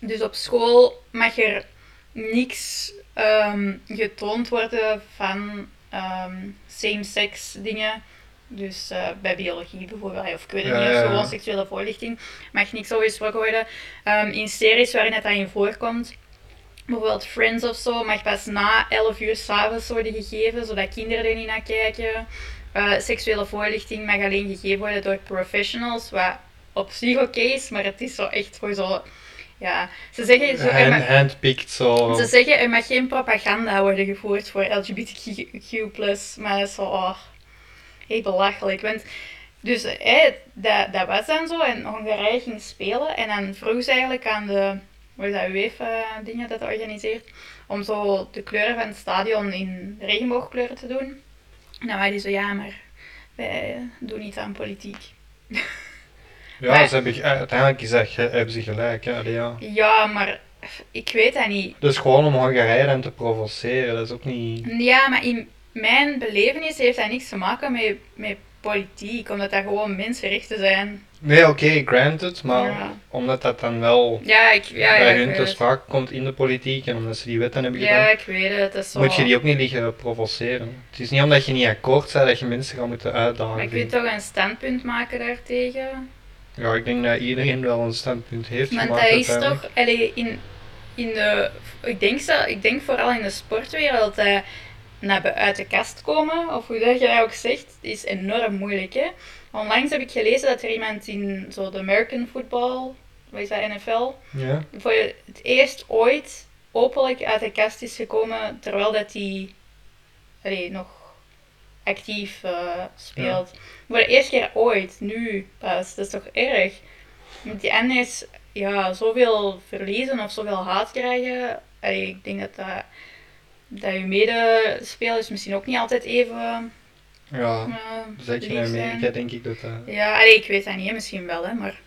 Speaker 2: dus op school mag er niks ehm, getoond worden van ehm, same-sex dingen. Dus eh, bij biologie bijvoorbeeld, of ik weet het
Speaker 3: Ja,
Speaker 2: niet,
Speaker 3: ja,
Speaker 2: of
Speaker 3: ja.
Speaker 2: gewoon seksuele voorlichting, mag niks over gesproken worden. Ehm, in series waarin het daarin voorkomt, bijvoorbeeld Friends of zo, mag pas na 11 uur s'avonds worden gegeven, zodat kinderen er niet naar kijken. Eh, seksuele voorlichting mag alleen gegeven worden door professionals, wat op zich oké is, maar het is zo echt voor zo... Ja, ze zeggen, zo, er
Speaker 3: Hand,
Speaker 2: ma-
Speaker 3: handpicked zo.
Speaker 2: ze zeggen er mag geen propaganda worden gevoerd voor LGBTQ+, maar dat is zo, oh, heel belachelijk. Want, dus eh, dat, dat was dan zo, en Hongarije ging spelen, en dan vroeg ze eigenlijk aan de, wat is dat, UEFA-dingen dat organiseert, om zo de kleuren van het stadion in regenboogkleuren te doen. En dan waren die zo, ja, maar wij doen niet aan politiek.
Speaker 3: Ja,
Speaker 2: Maar-
Speaker 3: ze hebben, ge- uiteindelijk is dat, ge- hebben ze gelijk. Ja, die, ja.
Speaker 2: Ja, maar ik weet dat niet.
Speaker 3: Dat is gewoon om Hongarije dan te provoceren. Dat is ook niet.
Speaker 2: Ja, maar in mijn belevenis heeft dat niks te maken met, met politiek, omdat dat gewoon mensenrechten zijn.
Speaker 3: Nee, oké, granted, maar
Speaker 2: Ja.
Speaker 3: omdat dat dan wel
Speaker 2: Ja, ik, ja, ja,
Speaker 3: bij
Speaker 2: ik
Speaker 3: hun
Speaker 2: weet
Speaker 3: ter
Speaker 2: het.
Speaker 3: sprake komt in de politiek en omdat ze die wetten hebben
Speaker 2: Ja,
Speaker 3: gedaan,
Speaker 2: ik weet het. Dat is zo.
Speaker 3: moet je die ook niet liggen provoceren. Het is niet omdat je niet akkoord bent dat je mensen gaat moeten
Speaker 2: Maar
Speaker 3: uitdagen.
Speaker 2: je kunt toch een standpunt maken daartegen?
Speaker 3: Ja, ik denk dat iedereen wel een standpunt heeft
Speaker 2: Want
Speaker 3: gemaakt
Speaker 2: dat is
Speaker 3: uiteindelijk.
Speaker 2: toch, allee, in, in de, ik, denk zo, ik denk vooral in de sportwereld, dat naar bu- uit de kast komen, of hoe dat je dat ook zegt, is enorm moeilijk. Hè? Onlangs heb ik gelezen dat er iemand in zo de American football, wat is dat, NFL,
Speaker 3: Ja.
Speaker 2: voor het eerst ooit openlijk uit de kast is gekomen terwijl dat hij allee, nog actief eh, speelt. Voor de eerste keer ooit, nu pas. Dat is toch erg? Want die andere is ja, zoveel verliezen of zoveel haat krijgen. Allee, ik denk dat, dat, dat je medespelers misschien ook niet altijd even
Speaker 3: Ja.
Speaker 2: eh
Speaker 3: Zet je in
Speaker 2: lief zijn.
Speaker 3: Amerika, denk ik dat dat.
Speaker 2: Ja, allee, ik weet dat niet, hè, misschien wel, hè, maar...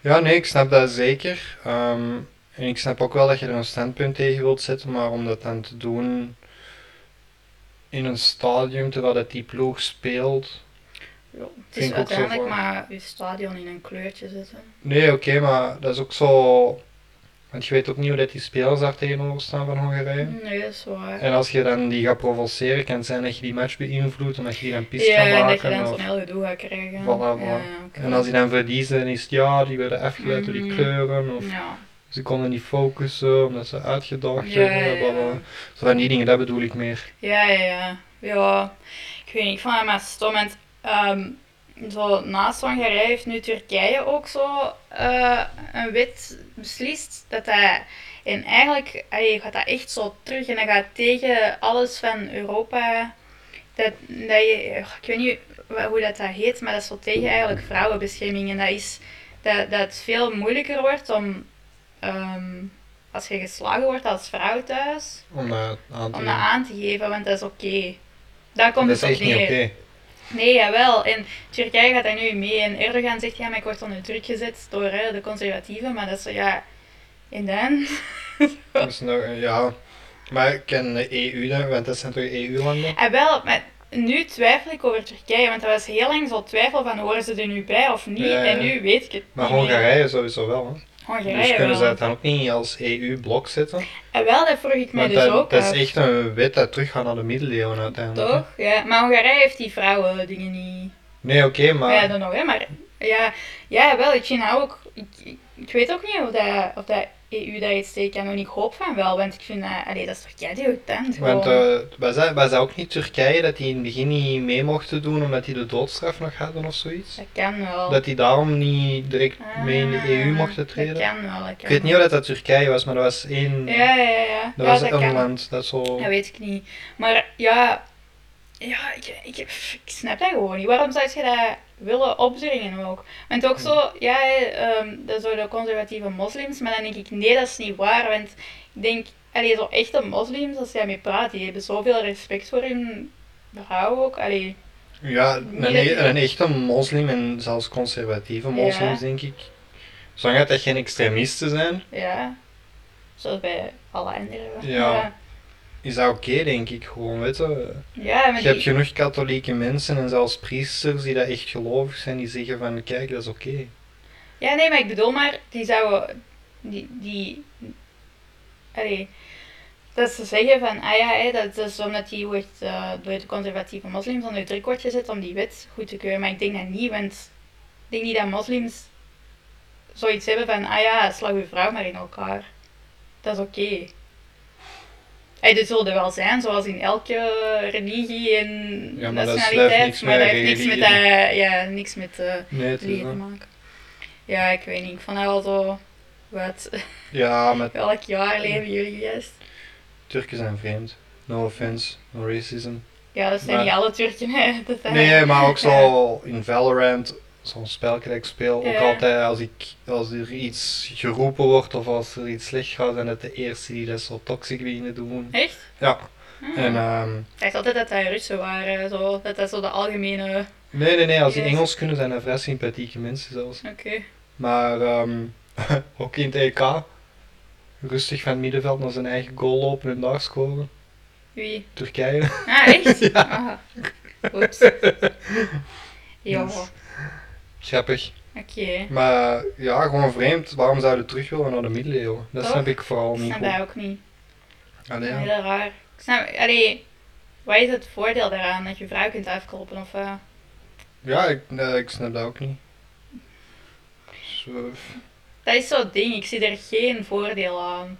Speaker 3: Ja, nee, ik snap dat zeker. Ehm, en ik snap ook wel dat je er een standpunt tegen wilt zetten, maar om dat dan te doen in een stadium terwijl dat die ploeg speelt.
Speaker 2: ja, het
Speaker 3: Vind ik ook
Speaker 2: is
Speaker 3: zo
Speaker 2: uiteindelijk
Speaker 3: voor.
Speaker 2: maar je stadion in een kleurtje zetten.
Speaker 3: Nee, oké, maar dat is ook zo. Want je weet ook niet hoe dat die spelers daar tegenover staan van Hongarije.
Speaker 2: Nee, dat is waar.
Speaker 3: En als je dan die gaat provoceren, kan het zijn dat je die match beïnvloedt en dat je die dan pist
Speaker 2: ja,
Speaker 3: gaat
Speaker 2: en dat je
Speaker 3: maken.
Speaker 2: dan
Speaker 3: of-
Speaker 2: zo'n heel gedoe gaat krijgen.
Speaker 3: Voilà, voilà.
Speaker 2: Ja, oké.
Speaker 3: En als die dan verliezen, dan is het ja, die werden afgeleid door die
Speaker 2: Mhm.
Speaker 3: kleuren. Of
Speaker 2: Ja.
Speaker 3: ze konden niet focussen omdat ze uitgedaagd
Speaker 2: Ja,
Speaker 3: werden.
Speaker 2: ja, ja.
Speaker 3: blablabla. Zo van die dingen, dat bedoel ik meer.
Speaker 2: Ja, ja, ja. Ja, ik weet niet, ik vond het maar stom. En ehm, zo, naast Hongarije heeft nu Turkije ook zo eh, een wet beslist. Dat hij, en eigenlijk allee, gaat dat echt zo terug en dat gaat tegen alles van Europa. dat, dat je, oh, ik weet niet wa- hoe dat, daar heet, maar dat is zo tegen eigenlijk vrouwenbescherming. En dat is dat, dat het veel moeilijker wordt om, ehm, als je geslagen wordt als vrouw thuis,
Speaker 3: Om dat aan te
Speaker 2: om
Speaker 3: doen.
Speaker 2: dat aan te geven, want dat is oké. Daar komt
Speaker 3: dat
Speaker 2: het
Speaker 3: is echt
Speaker 2: op
Speaker 3: niet oké.
Speaker 2: neer. Nee, jawel. En Turkije gaat daar nu in mee. En Erdogan zegt, ja, maar ik word onder druk gezet door hè, de conservatieven. Maar dat is zo, ja... En dan?
Speaker 3: Dat is nou, eh, ja. Maar ken de EU dat? Want dat zijn toch E EU-landen?
Speaker 2: En Ah, wel, maar nu twijfel ik over Turkije. Want er was heel lang zo'n twijfel van, horen ze er nu bij of niet?
Speaker 3: Ja, ja.
Speaker 2: En nu weet ik het
Speaker 3: Maar
Speaker 2: niet meer.
Speaker 3: Hongarije sowieso wel. Hè?
Speaker 2: Hongarije
Speaker 3: Dus kunnen
Speaker 2: wel.
Speaker 3: ze het dan ook niet als EU-blok zetten?
Speaker 2: En wel, dat vroeg ik mij
Speaker 3: Want
Speaker 2: dus
Speaker 3: dat,
Speaker 2: ook
Speaker 3: dat
Speaker 2: af.
Speaker 3: is echt een wet dat teruggaat naar de middeleeuwen uiteindelijk. hè.
Speaker 2: Toch? Ja. Maar Hongarije heeft die vrouwen dingen niet...
Speaker 3: Nee, oké, maar...
Speaker 2: Ja, dan nog, hè. Maar ja, ja wel, ik China ook. Ik, ik, ik weet ook niet of dat, of dat EU daar iets tegen kan doen. Ik hoop van wel, want ik vind dat... Allee, dat is toch keideurtant gewoon.
Speaker 3: Want eh, was, dat, was dat ook niet Turkije dat die in het begin niet mee mochten doen omdat die de doodstraf nog hadden of zoiets?
Speaker 2: dat kan wel.
Speaker 3: Dat E die daarom niet direct
Speaker 2: Ah,
Speaker 3: mee in de EU mochten treden?
Speaker 2: Dat kan wel, dat kan
Speaker 3: Ik weet niet of dat, dat Turkije was, maar dat was één...
Speaker 2: wel. Ja, ja, ja.
Speaker 3: Dat
Speaker 2: ja,
Speaker 3: was
Speaker 2: dat
Speaker 3: een eh,
Speaker 2: kan.
Speaker 3: land dat zo...
Speaker 2: Dat weet ik niet. Maar ja... Ja, ik, ik, ik snap dat gewoon niet. Waarom zou je dat willen opdringen ook? Want ook zo, ja, hè, ehm dat zo de conservatieve moslims, maar dan denk ik, nee, dat is niet waar. Want ik denk, allee, zo echte moslims, als jij mee praat, die hebben zoveel respect voor hun vrouw ook. Allee,
Speaker 3: Ja, een,
Speaker 2: Niet dat die-
Speaker 3: e- een echte moslim en zelfs conservatieve moslims,
Speaker 2: Ja.
Speaker 3: denk ik. Zolang dat dat geen extremisten zijn,
Speaker 2: ja. Zoals bij alle anderen.
Speaker 3: Ja. is dat oké, denk ik. Gewoon, weet je.
Speaker 2: Ja, maar
Speaker 3: Je hebt
Speaker 2: die-
Speaker 3: genoeg katholieke mensen en zelfs priesters die dat echt gelovig zijn, die zeggen van, kijk, dat is oké.
Speaker 2: Ja, nee, maar ik bedoel maar, die zouden, die, die, allee, dat ze zeggen van, ah ja, hè, dat is omdat die wordt eh, door de conservatieve moslims onder druk wordt gezet om die wet goed te keuren, maar ik denk dat niet, want ik denk niet dat moslims zoiets hebben van, ah ja, slag uw vrouw maar in elkaar, dat is oké. Hey, dit zullen er wel zijn, zoals in elke religie en
Speaker 3: Ja, maar dat is- dat heeft
Speaker 2: nationaliteit,
Speaker 3: niks
Speaker 2: maar
Speaker 3: met
Speaker 2: dat heeft niks met,
Speaker 3: religie.
Speaker 2: eh, ja, niks met... eh,
Speaker 3: Nee, het is
Speaker 2: leren
Speaker 3: wel.
Speaker 2: maken. Ja, ik weet niet. Ik vond dat wel zo... Wat?
Speaker 3: Ja, maar
Speaker 2: Welk jaar leven jullie juist?
Speaker 3: Turken zijn vreemd. No offense, no racism.
Speaker 2: Ja, dat zijn
Speaker 3: Maar-
Speaker 2: niet alle Turken, hè. Dat zijn...
Speaker 3: Nee, maar ook
Speaker 2: Ja.
Speaker 3: zo in Valorant, zo'n spelletje dat ik speel, ook
Speaker 2: Ja.
Speaker 3: altijd als, ik, als er iets geroepen wordt of als er iets slecht gaat, zijn het de eerste die dat zo toxic beginnen doen.
Speaker 2: Echt?
Speaker 3: Ja,
Speaker 2: Ah.
Speaker 3: en ehm,
Speaker 2: Ik dacht altijd dat dat Russen waren. Zo. Dat dat zo de algemene...
Speaker 3: nee, nee, nee, als die
Speaker 2: Yes.
Speaker 3: Engels kunnen zijn dat vrij sympathieke mensen zelfs.
Speaker 2: Oké.
Speaker 3: Maar ehm, ook in het EK, rustig van het middenveld naar zijn eigen goal lopen en daar scoren.
Speaker 2: Wie?
Speaker 3: Turkije.
Speaker 2: Ah, echt? ja. Oeps. Ja.
Speaker 3: Yes.
Speaker 2: Oké.
Speaker 3: Grappig. Maar ja, gewoon vreemd. Waarom zouden we terug willen naar de middeleeuwen? Dat
Speaker 2: Toch?
Speaker 3: snap ik vooral
Speaker 2: Ik
Speaker 3: niet
Speaker 2: snap
Speaker 3: goed.
Speaker 2: dat ook niet.
Speaker 3: Allee, ja.
Speaker 2: Heel raar. Ik snap... Allee... Wat is het voordeel daaraan? Dat je vrouw kunt afkloppen of... eh,
Speaker 3: Ja, ik, nee, ik snap dat ook niet. Zo.
Speaker 2: Dat is zo'n ding. Ik zie er geen voordeel aan.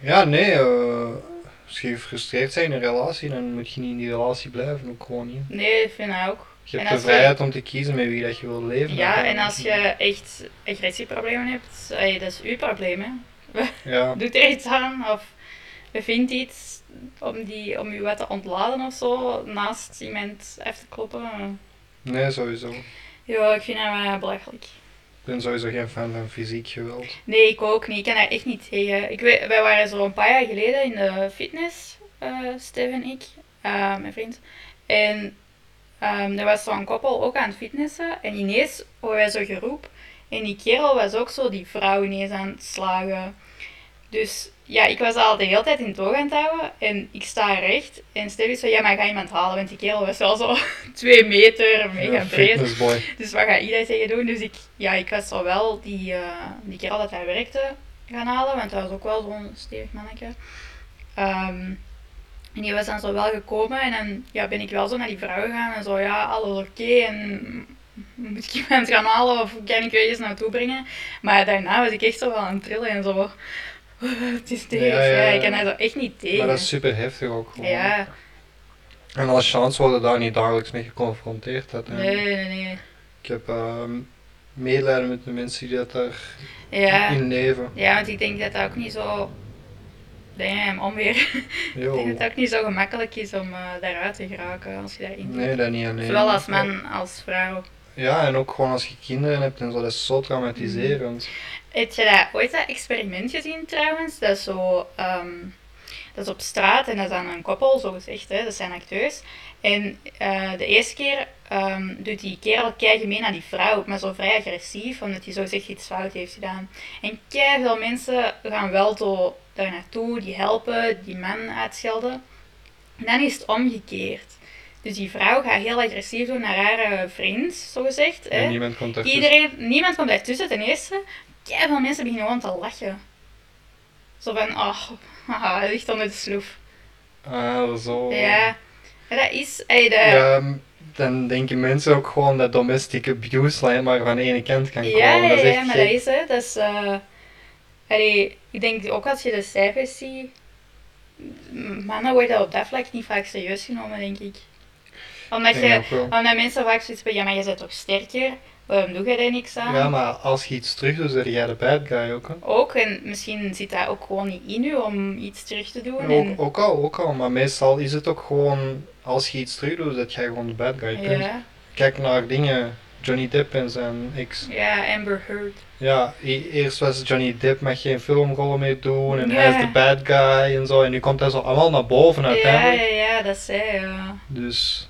Speaker 3: Ja, nee. eh, als je gefrustreerd bent in een relatie, dan moet je niet in die relatie blijven. Ook gewoon niet.
Speaker 2: Nee, ik vind ik ook.
Speaker 3: Je
Speaker 2: En
Speaker 3: hebt
Speaker 2: als
Speaker 3: de
Speaker 2: je-
Speaker 3: vrijheid om te kiezen met wie dat je wil leven.
Speaker 2: Ja, en
Speaker 3: uiteindelijk.
Speaker 2: als je echt agressieproblemen hebt, ey, dat is uw probleem. Hè.
Speaker 3: Ja,
Speaker 2: Doet er iets aan of bevindt iets om, die, om je wat te ontladen of zo, naast iemand af te kloppen. eh.
Speaker 3: nee, sowieso.
Speaker 2: Ja, ik vind dat wel belachelijk.
Speaker 3: Ik ben sowieso geen fan van fysiek geweld.
Speaker 2: Nee, ik ook niet. Ik kan daar echt niet tegen. Ik weet, wij waren zo een paar jaar geleden in de fitness, eh Stef en ik, eh, mijn vriend. En ehm, er was zo'n koppel ook aan het fitnessen. En ineens hoorden wij zo'n geroep. En die kerel was ook zo die vrouw ineens aan het slagen. Dus ja, ik was al de hele tijd in het oog aan het houden. En ik sta recht. En Stef is zo, ja, maar ga iemand halen. Want die kerel was wel zo twee meter, mega
Speaker 3: Ja,
Speaker 2: breed.
Speaker 3: fitnessboy.
Speaker 2: Dus wat gaat iedereen tegen doen? Dus ik, ja, ik was zo wel die, eh die kerel dat hij werkte gaan halen, want hij was ook wel zo'n stevig mannetje. Ehm, en die was dan zo wel gekomen en dan ja, ben ik wel zo naar die vrouw gegaan en zo, ja, alles oké en moet ik iemand gaan halen of kan ik je eens naartoe brengen? Maar daarna was ik echt zo wel aan het trillen en zo, het is tegen.
Speaker 3: Ja,
Speaker 2: Ja,
Speaker 3: ja,
Speaker 2: ik
Speaker 3: ja.
Speaker 2: kan daar zo echt niet tegen.
Speaker 3: Maar dat is super heftig ook gewoon.
Speaker 2: ja,
Speaker 3: En als chance worden daar niet dagelijks mee geconfronteerd. Dat,
Speaker 2: nee, nee, nee.
Speaker 3: Ik heb ehm, medelijden met de mensen die dat daar
Speaker 2: Ja.
Speaker 3: in leven.
Speaker 2: Ja, want ik denk dat dat ook niet zo Damn, onweer. Ik denk dat
Speaker 3: Jo.
Speaker 2: het ook niet zo gemakkelijk is om eh, daaruit te geraken als je daarin
Speaker 3: Nee, dat niet alleen.
Speaker 2: Zowel als man als vrouw.
Speaker 3: Ja, en ook gewoon als je kinderen hebt en zo, dat is zo traumatiserend.
Speaker 2: Mm. Heb je dat ooit dat experiment gezien trouwens? Dat is zo. ehm, dat is op straat en dat is aan een koppel, zo gezegd, hè? dat zijn acteurs. En eh, de eerste keer ehm, doet die kerel kei mee naar die vrouw, maar zo vrij agressief, omdat hij zo zegt iets fout heeft gedaan. En kei veel mensen gaan wel zo daar naartoe, die helpen, die man uitschelden. En dan is het omgekeerd. Dus die vrouw gaat heel agressief doen naar haar eh, vriend, zo gezegd.
Speaker 3: En
Speaker 2: hè.
Speaker 3: niemand komt echt
Speaker 2: Eh, Iedereen, niemand komt daartussen ten eerste. Kei veel mensen beginnen gewoon te lachen. Zo van, oh, haha, hij ligt onder de sloef.
Speaker 3: Ah, zo.
Speaker 2: Ja, Ja, dat is. ey, dat-
Speaker 3: Ja, m- dan denken mensen ook gewoon dat domestic abuse alleen maar van de ene kant kan komen.
Speaker 2: ja,
Speaker 3: dat
Speaker 2: ja,
Speaker 3: is
Speaker 2: ja,
Speaker 3: echt
Speaker 2: maar dat
Speaker 3: gek.
Speaker 2: is hè. Dat is, eh, allee, ik denk ook als je de cijfers ziet, m- mannen worden op dat vlak niet vaak serieus genomen, denk ik. Omdat,
Speaker 3: Ik denk
Speaker 2: je,
Speaker 3: ook wel.
Speaker 2: omdat mensen vaak zoiets hebben, ja, maar je bent toch sterker? Waarom doe jij daar niks aan?
Speaker 3: Ja, maar als je iets terug doet, zeg jij de bad guy ook. Hè?
Speaker 2: Ook, en misschien zit dat ook gewoon niet in u om iets terug te doen. en...
Speaker 3: Ook, ook al, ook al, maar meestal is het ook gewoon, als je iets terug doet, dat jij gewoon de bad guy bent.
Speaker 2: Ja,
Speaker 3: Kijk naar dingen, Johnny Depp en zijn ex.
Speaker 2: ja, Amber Heard.
Speaker 3: Ja, e- eerst was Johnny Depp mag geen filmrollen meer doen en
Speaker 2: Ja.
Speaker 3: hij is de bad guy en zo. En nu komt dat zo allemaal naar boven
Speaker 2: Ja,
Speaker 3: uiteindelijk.
Speaker 2: ja, ja, dat zei hij. ja.
Speaker 3: Dus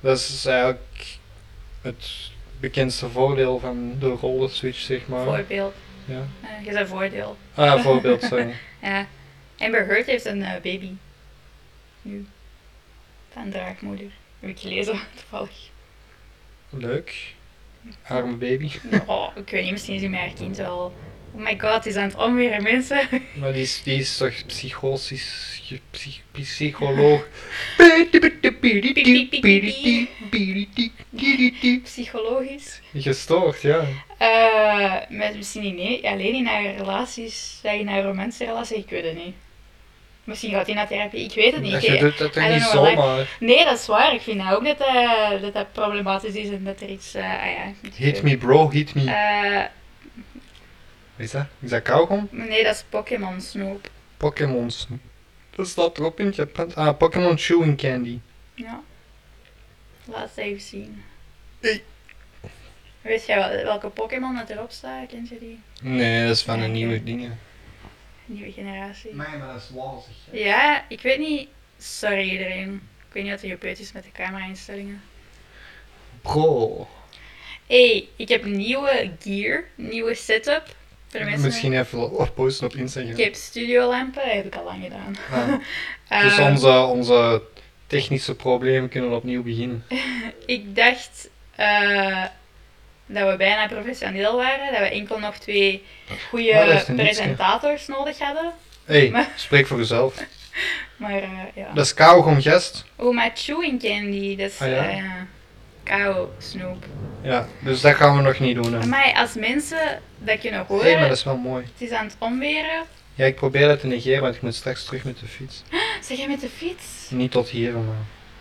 Speaker 3: dat is eigenlijk het bekendste voordeel van de rollenswitch, zeg maar.
Speaker 2: Voorbeeld.
Speaker 3: Ja.
Speaker 2: Eh, je zei voordeel.
Speaker 3: Ah, voorbeeld, sorry.
Speaker 2: Ja. Amber Heard heeft een eh, baby. Nu. Van draagmoeder. Heb ik gelezen, toevallig.
Speaker 3: Leuk. Arme baby.
Speaker 2: Oh, ik weet niet, misschien is hij met haar kind wel. Oh my god, die is aan het omweren, mensen.
Speaker 3: Maar die is, die is toch psychotisch, ge- psych- psycholoog.
Speaker 2: Psychologisch.
Speaker 3: Gestoord, ja.
Speaker 2: Eh, met misschien niet, nee, alleen in haar relaties, in haar romantische ik weet het niet. Misschien gaat hij naar therapie, ik weet het niet.
Speaker 3: Dat
Speaker 2: Ik-
Speaker 3: je doet dat
Speaker 2: I
Speaker 3: toch
Speaker 2: don't
Speaker 3: niet
Speaker 2: know, like-
Speaker 3: zomaar.
Speaker 2: Nee, dat is waar. Ik vind dat ook dat eh, dat, dat problematisch is en dat er iets. eh, ah ja, niet
Speaker 3: Hit
Speaker 2: goed.
Speaker 3: me bro, hit me.
Speaker 2: Eh,
Speaker 3: Is dat? Is dat kauwgom?
Speaker 2: nee, dat is Pokémon Snoop.
Speaker 3: Pokémon. Dat staat erop in het Japans. Ah, Pokémon Chewing Candy.
Speaker 2: Ja. Laat het even zien.
Speaker 3: Hey.
Speaker 2: Weet jij wel, welke Pokémon dat erop staat? Kent je die?
Speaker 3: Nee, dat is van
Speaker 2: Ja,
Speaker 3: een
Speaker 2: oké.
Speaker 3: nieuwe dingen.
Speaker 2: Nieuwe generatie.
Speaker 3: Nee, maar dat is wazig.
Speaker 2: Ja, ik weet niet. Sorry iedereen. Ik weet niet wat er gebeurd is met de camera-instellingen.
Speaker 3: Bro.
Speaker 2: hey, ik heb nieuwe gear, nieuwe setup. Voor de mensen-
Speaker 3: Misschien even op- posten op Instagram.
Speaker 2: Ik heb studiolampen, dat heb ik al lang gedaan.
Speaker 3: Ah, dus
Speaker 2: Ehm,
Speaker 3: onze, onze technische problemen kunnen opnieuw beginnen.
Speaker 2: Ik dacht eh, dat we bijna professioneel waren, dat we enkel nog twee
Speaker 3: Maar dat
Speaker 2: goede
Speaker 3: is een niks, hè.
Speaker 2: presentators nodig hadden.
Speaker 3: hey,
Speaker 2: Maar-
Speaker 3: spreek voor jezelf.
Speaker 2: Maar eh, ja.
Speaker 3: Dat is kauwgom gest.
Speaker 2: Oh, maar chewing candy, dat is
Speaker 3: Ah, ja?
Speaker 2: eh, kou, snoep.
Speaker 3: Ja, dus dat gaan we nog niet doen. hè.
Speaker 2: Maar als mensen dat kunnen horen,
Speaker 3: hey, maar dat is wel mooi.
Speaker 2: het is aan het omweren.
Speaker 3: Ja, ik probeer dat te negeren, want ik moet straks terug met de fiets.
Speaker 2: Zeg jij met de fiets?
Speaker 3: Niet tot hier, maar...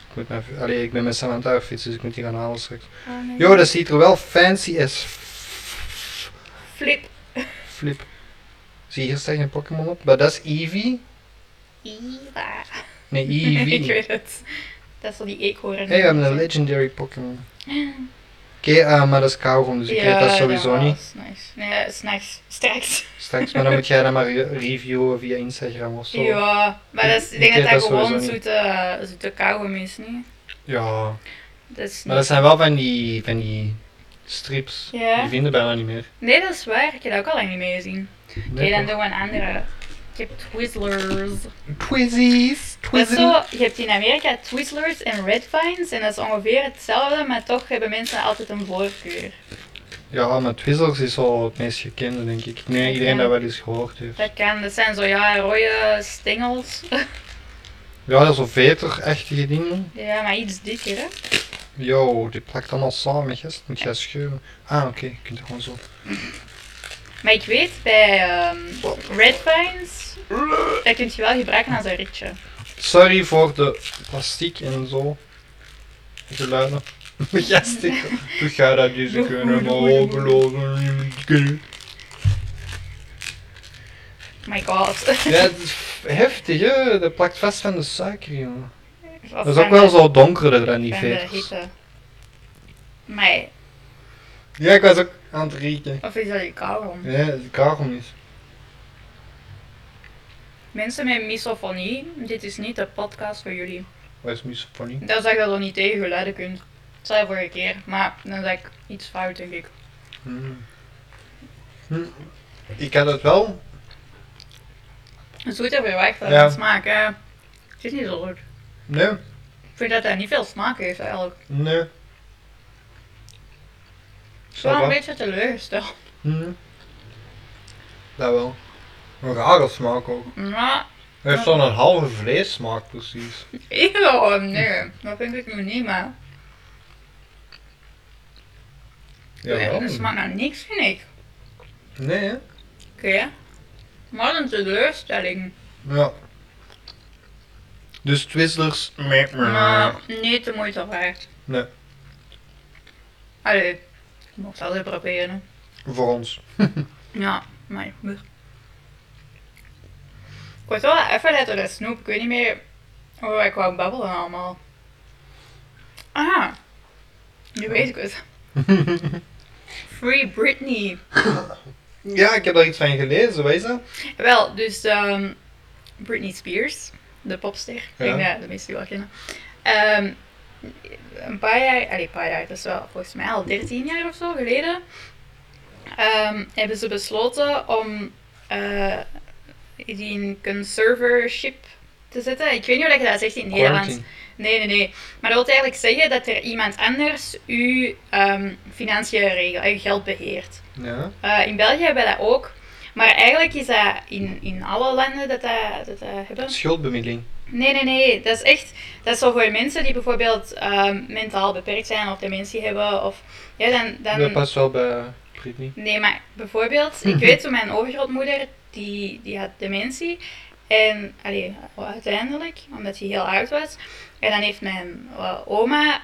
Speaker 3: Ik, moet mijn, fi- allee, ik ben met Sam aan het uitfietsen, dus ik moet die gaan halen straks.
Speaker 2: Oh, nee.
Speaker 3: Yo, dat ziet er wel fancy as f-
Speaker 2: Flip.
Speaker 3: flip. Zie je hier staan geen Pokémon op? Maar dat is Eevee?
Speaker 2: Eva.
Speaker 3: Nee,
Speaker 2: ik
Speaker 3: Eevee.
Speaker 2: weet het. Dat is wel die eekhoorn.
Speaker 3: Hey, we hebben een legendary Pokémon. Oké, eh, maar dat is kauwgom, dus ik weet dat sowieso
Speaker 2: was
Speaker 3: niet.
Speaker 2: Nice. Nee, s'nachts. Straks.
Speaker 3: Straks, maar dan moet jij dat maar re- reviewen via Instagram of zo.
Speaker 2: Ja, maar dat is, ik
Speaker 3: Ik
Speaker 2: denk
Speaker 3: ken
Speaker 2: dat dat
Speaker 3: dat sowieso
Speaker 2: gewoon
Speaker 3: niet.
Speaker 2: zoete, zoete kauwgom is, niet?
Speaker 3: Ja,
Speaker 2: Dat is
Speaker 3: maar dat
Speaker 2: niet...
Speaker 3: zijn wel van die, van die strips.
Speaker 2: Ja.
Speaker 3: Die vinden bijna niet meer.
Speaker 2: Nee, dat is waar. Ik heb dat ook al lang niet meer gezien. Oké,
Speaker 3: Nee,
Speaker 2: dan
Speaker 3: toch?
Speaker 2: doen we een andere. Je hebt Twizzlers.
Speaker 3: Twizzies,
Speaker 2: Dat is
Speaker 3: Twizzies.
Speaker 2: zo, je hebt in Amerika Twizzlers en Red Vines en dat is ongeveer hetzelfde, maar toch hebben mensen altijd een voorkeur.
Speaker 3: Ja, maar Twizzlers is al het meest gekende, denk ik. Nee, iedereen
Speaker 2: Ja.
Speaker 3: dat wel eens gehoord heeft.
Speaker 2: Dat kan, dat zijn zo ja, rode stengels.
Speaker 3: Ja, dat is een veter-achtige dingen.
Speaker 2: ja, maar iets dikker, hè?
Speaker 3: Yo, dit plakt allemaal samen, gest. Moet jij schuren? Ah, oké, je kunt het gewoon zo.
Speaker 2: Maar ik weet bij ehm, Red Vines, dat kun je wel gebruiken als een ritje. Oh
Speaker 3: Sorry voor de plastic en zo. Geluiden. Gast, ik ik ga dat dus
Speaker 2: Doe
Speaker 3: kunnen
Speaker 2: goed, doe goed, doe
Speaker 3: maar geloven.
Speaker 2: my god.
Speaker 3: Ja, het is heftig, hè? Dat plakt vast van de suiker, jongen.
Speaker 2: Of
Speaker 3: Dat is
Speaker 2: van
Speaker 3: ook wel
Speaker 2: de-
Speaker 3: zo donkerder dan die
Speaker 2: van de
Speaker 3: veters.
Speaker 2: hitte. Maar,
Speaker 3: Ja, ik was ook aan het rieken.
Speaker 2: of is dat die kauwgom?
Speaker 3: Ja, de kauwgom is.
Speaker 2: Mensen met misofonie, dit is niet de podcast voor jullie.
Speaker 3: Wat is misofonie?
Speaker 2: Dat zeg dat je niet tegen geluiden kunt. Dat zei ik vorige keer, maar dan zeg ik iets fout, denk ik.
Speaker 3: Hmm. Hm. Ik had het wel.
Speaker 2: Het doet er weer weg van
Speaker 3: Ja.
Speaker 2: de smaak, hè. Het is niet zo goed.
Speaker 3: Nee,
Speaker 2: Ik vind dat hij niet veel smaak heeft, eigenlijk.
Speaker 3: nee.
Speaker 2: Ik ben wel
Speaker 3: Ça va.
Speaker 2: een beetje teleurgesteld.
Speaker 3: Mhm. Dat wel. Een rare smaak ook.
Speaker 2: Maar,
Speaker 3: Hij heeft zo'n halve vleessmaak precies.
Speaker 2: eeuw, nee. Dat vind ik nu niet, maar...
Speaker 3: Jawel.
Speaker 2: Dat smaakt naar niks, vind ik.
Speaker 3: Nee hè?
Speaker 2: Oké. Wat een teleurstelling.
Speaker 3: Ja. Dus Twizzlers. meh, meh.
Speaker 2: Maar niet de moeite waard.
Speaker 3: Nee.
Speaker 2: Allee, ik mocht het altijd proberen. hè.
Speaker 3: Voor ons.
Speaker 2: Ja, maar... Ik was wel even uit de snoep, ik weet niet meer hoe ik wou babbelen allemaal. Ah, nu weet ik het. Free Britney.
Speaker 3: ja, ik heb daar iets van gelezen, weet je dat?
Speaker 2: Wel, dus ehm, Britney Spears, de popster, ik denk
Speaker 3: Ja.
Speaker 2: dat de meesten die wel kennen. Ehm, een paar jaar, allee, een paar jaar, dat is wel volgens mij al 13 jaar of zo geleden, ehm, hebben ze besloten om eh, die in conservership te zetten. Ik weet niet hoe dat je dat zegt in het Nederlands.
Speaker 3: Quarantine.
Speaker 2: Nee, nee, nee. Maar dat wil eigenlijk zeggen dat er iemand anders uw ehm, financiën regelt, uw geld beheert.
Speaker 3: Ja.
Speaker 2: Eh, in België hebben we dat ook. Maar eigenlijk is dat in, in alle landen dat dat, dat, dat hebben.
Speaker 3: Schuldbemiddeling.
Speaker 2: Nee, nee, nee. Dat is echt... Dat is zo voor mensen die bijvoorbeeld ehm, mentaal beperkt zijn of dementie hebben. Of, ja, dan,
Speaker 3: Dat
Speaker 2: dan,
Speaker 3: past wel bij Britney.
Speaker 2: nee, maar bijvoorbeeld... Ik weet toen mijn overgrootmoeder, die, die had dementie. En allee, uiteindelijk, omdat hij heel oud was. En dan heeft mijn eh, oma,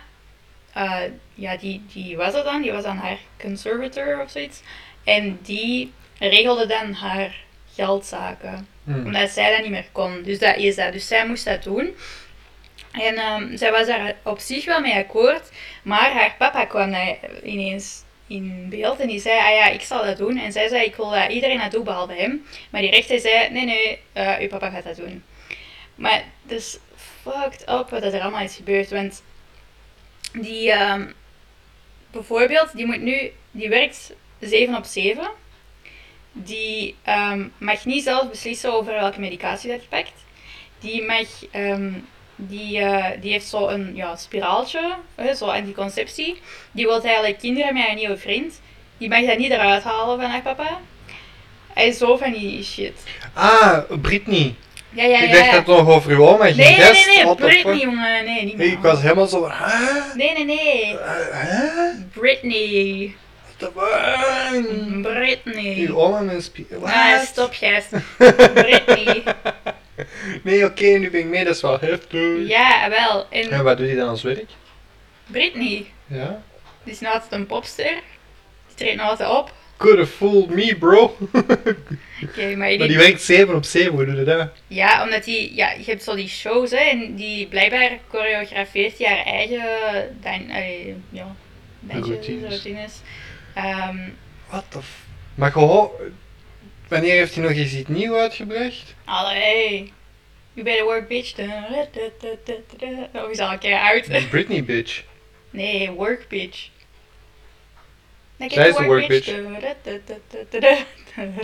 Speaker 2: eh, ja, die, die was het dan, die was dan haar conservator of zoiets. En die regelde dan haar geldzaken,
Speaker 3: Hm.
Speaker 2: omdat zij dat niet meer kon. Dus dat is dat. Dus zij moest dat doen. En ehm, zij was daar op zich wel mee akkoord, maar haar papa kwam daar ineens in beeld en die zei, ah ja, ik zal dat doen. En zij zei, ik wil dat iedereen dat doet behalve hem. Maar die rechter zei, nee, nee, eh uw papa gaat dat doen. Maar dus fucked up wat er allemaal is gebeurd. Want die ehm, bijvoorbeeld, die moet nu, die werkt 7 op 7. Die ehm, mag niet zelf beslissen over welke medicatie dat je pakt. Die mag, ehm, die, eh, die heeft zo een ja, spiraaltje, hè, zo anticonceptie. Die wil eigenlijk kinderen met een nieuwe vriend. Die mag dat niet eruit halen van haar papa. Hij is zo van die shit.
Speaker 3: Ah, Britney.
Speaker 2: Ja, ja, ja.
Speaker 3: ik dacht
Speaker 2: ja.
Speaker 3: dat het nog over uw oma ging.
Speaker 2: Nee, nee,
Speaker 3: Gast,
Speaker 2: nee, nee,
Speaker 3: what the
Speaker 2: Britney,
Speaker 3: fuck?
Speaker 2: jongen. Nee, niet
Speaker 3: Nee,
Speaker 2: meer.
Speaker 3: ik was helemaal zo. Huh?
Speaker 2: Nee, nee, nee.
Speaker 3: Huh?
Speaker 2: Britney. Mm.
Speaker 3: What
Speaker 2: Britney.
Speaker 3: Uw oma met een spier.
Speaker 2: Ah,
Speaker 3: What?
Speaker 2: stop, gast. Britney.
Speaker 3: Nee, oké, nu ben ik mee, dat is wel heftig.
Speaker 2: Ja, wel.
Speaker 3: En
Speaker 2: En
Speaker 3: wat doet hij dan als werk?
Speaker 2: Britney,
Speaker 3: Ja.
Speaker 2: die is nou altijd een popster. Die treedt nou altijd op.
Speaker 3: Could have fooled me, bro.
Speaker 2: Oké, maar die...
Speaker 3: maar die werkt 7 op 7, hoe doe je dat?
Speaker 2: Ja, omdat die... Ja, je hebt zo die shows, hè. En die blijkbaar choreografeert die haar eigen... Dan, eh, ja, dansjes,
Speaker 3: Routines.
Speaker 2: routines. Ehm,
Speaker 3: What the f... Maar gehoor... Wanneer heeft hij nog eens iets nieuws uitgebracht?
Speaker 2: Allee. You better work, bitch. Da, da, da, da, da, da. Dat is al een keer uit.
Speaker 3: Britney, bitch.
Speaker 2: Nee, work, bitch. Dan
Speaker 3: Zij is de work
Speaker 2: Da, da, da, da, da, da.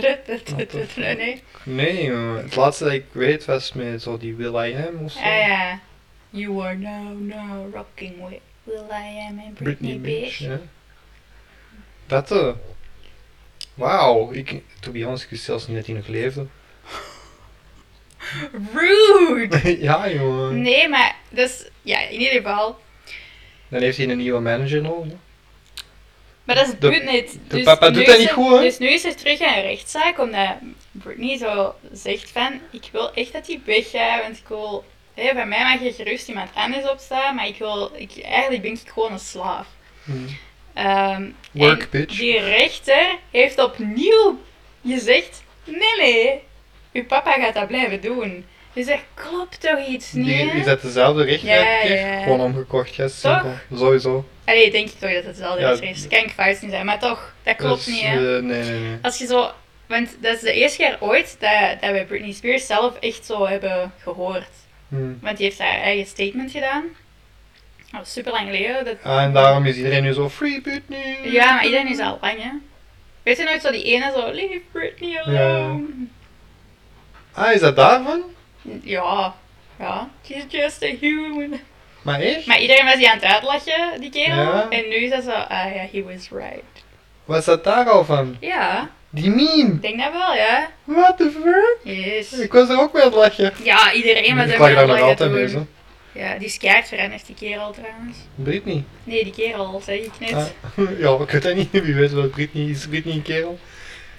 Speaker 2: Da, da, da, da, da, da. Nee.
Speaker 3: Nee, jongen. Het laatste dat ik weet was met zo die Will I Am of zo.
Speaker 2: Ah ja. You are now, now rocking with Will I Am and Britney, bitch.
Speaker 3: ja. Dat eh. Wauw. Ik... To be honest, ik wist zelfs niet dat hij nog leefde.
Speaker 2: Rude!
Speaker 3: ja, jongen.
Speaker 2: Nee, maar dat is... Ja, in ieder geval.
Speaker 3: Dan heeft hij een nieuwe manager nodig. hè.
Speaker 2: Maar dat is
Speaker 3: De-
Speaker 2: Britney. het-
Speaker 3: de papa
Speaker 2: nu
Speaker 3: doet dat
Speaker 2: is
Speaker 3: niet
Speaker 2: er-
Speaker 3: goed, hè?
Speaker 2: Dus nu is er terug een rechtszaak, omdat Britney zo zegt van, ik wil echt dat hij weggaat, want ik wil... Hé, bij mij mag je gerust iemand anders opstaan, maar ik wil... Ik, eigenlijk ben ik gewoon een slaaf.
Speaker 3: Hmm.
Speaker 2: Ehm,
Speaker 3: Work,
Speaker 2: en
Speaker 3: bitch.
Speaker 2: die rechter heeft opnieuw gezegd, nee, nee, uw papa gaat dat blijven doen. Je zegt, klopt toch iets niet?
Speaker 3: Die
Speaker 2: hè?
Speaker 3: is dat dezelfde richtlijn?
Speaker 2: Ja,
Speaker 3: keer?
Speaker 2: ja.
Speaker 3: Gewoon omgekocht, ja, simpel. Sowieso.
Speaker 2: Allee, denk je toch dat het wel
Speaker 3: Ja.
Speaker 2: ja. is? Kan ik fout niet zijn, maar toch, dat klopt
Speaker 3: Dus,
Speaker 2: niet hè.
Speaker 3: eh, nee, nee, nee.
Speaker 2: Als je zo, want dat is de eerste keer ooit dat, dat we Britney Spears zelf echt zo hebben gehoord.
Speaker 3: Hm.
Speaker 2: Want die heeft haar eigen statement gedaan. Dat was super lang geleden. Dat...
Speaker 3: Ah, en daarom is iedereen nu zo free Britney.
Speaker 2: Ja, maar iedereen is al lang hè. Weet je nooit zo die ene zo, leave Britney alone.
Speaker 3: Ah, is dat daarvan?
Speaker 2: Ja, ja. She's just a human.
Speaker 3: Maar echt?
Speaker 2: Maar iedereen was die aan het uitlachen, die kerel.
Speaker 3: Ja.
Speaker 2: En nu is dat zo, ah ja, he was right.
Speaker 3: Wat staat daar al van?
Speaker 2: Ja,
Speaker 3: Die meme.
Speaker 2: ik denk dat wel, ja.
Speaker 3: What the fuck?
Speaker 2: Yes.
Speaker 3: Ik was er ook mee aan het lachen.
Speaker 2: Ja, iedereen was
Speaker 3: ik
Speaker 2: er
Speaker 3: lag
Speaker 2: wel
Speaker 3: daar nog
Speaker 2: lachen
Speaker 3: altijd
Speaker 2: toen.
Speaker 3: mee, zo.
Speaker 2: Ja, die is keihard veranderd, die kerel trouwens.
Speaker 3: Britney.
Speaker 2: Nee, die kerel, zeg ik net.
Speaker 3: Ah, ja, ik weet dat niet. Wie weet wat Britney is. Britney een kerel.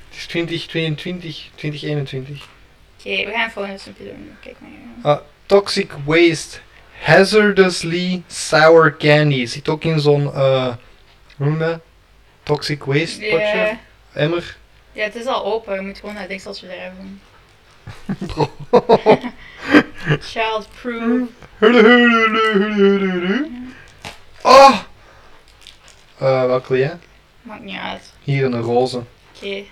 Speaker 3: Het is 2022, 2021.
Speaker 2: Oké, we gaan gewoon een snoepje doen. Kijk maar. ja.
Speaker 3: Ah, toxic waste. Hazardously sour candy. Zit ook in zo'n, eh, hoe noem je dat? Toxic waste
Speaker 2: Ja,
Speaker 3: potje. Emmer.
Speaker 2: ja, het is al open. Je moet gewoon dat dekseltje eruit doen.
Speaker 3: Bro.
Speaker 2: Childproof.
Speaker 3: Hulu, hulu, hulu, hulu, hulu. Oh! Eh, welke jij?
Speaker 2: Maakt niet uit.
Speaker 3: Hier een roze.
Speaker 2: Oké.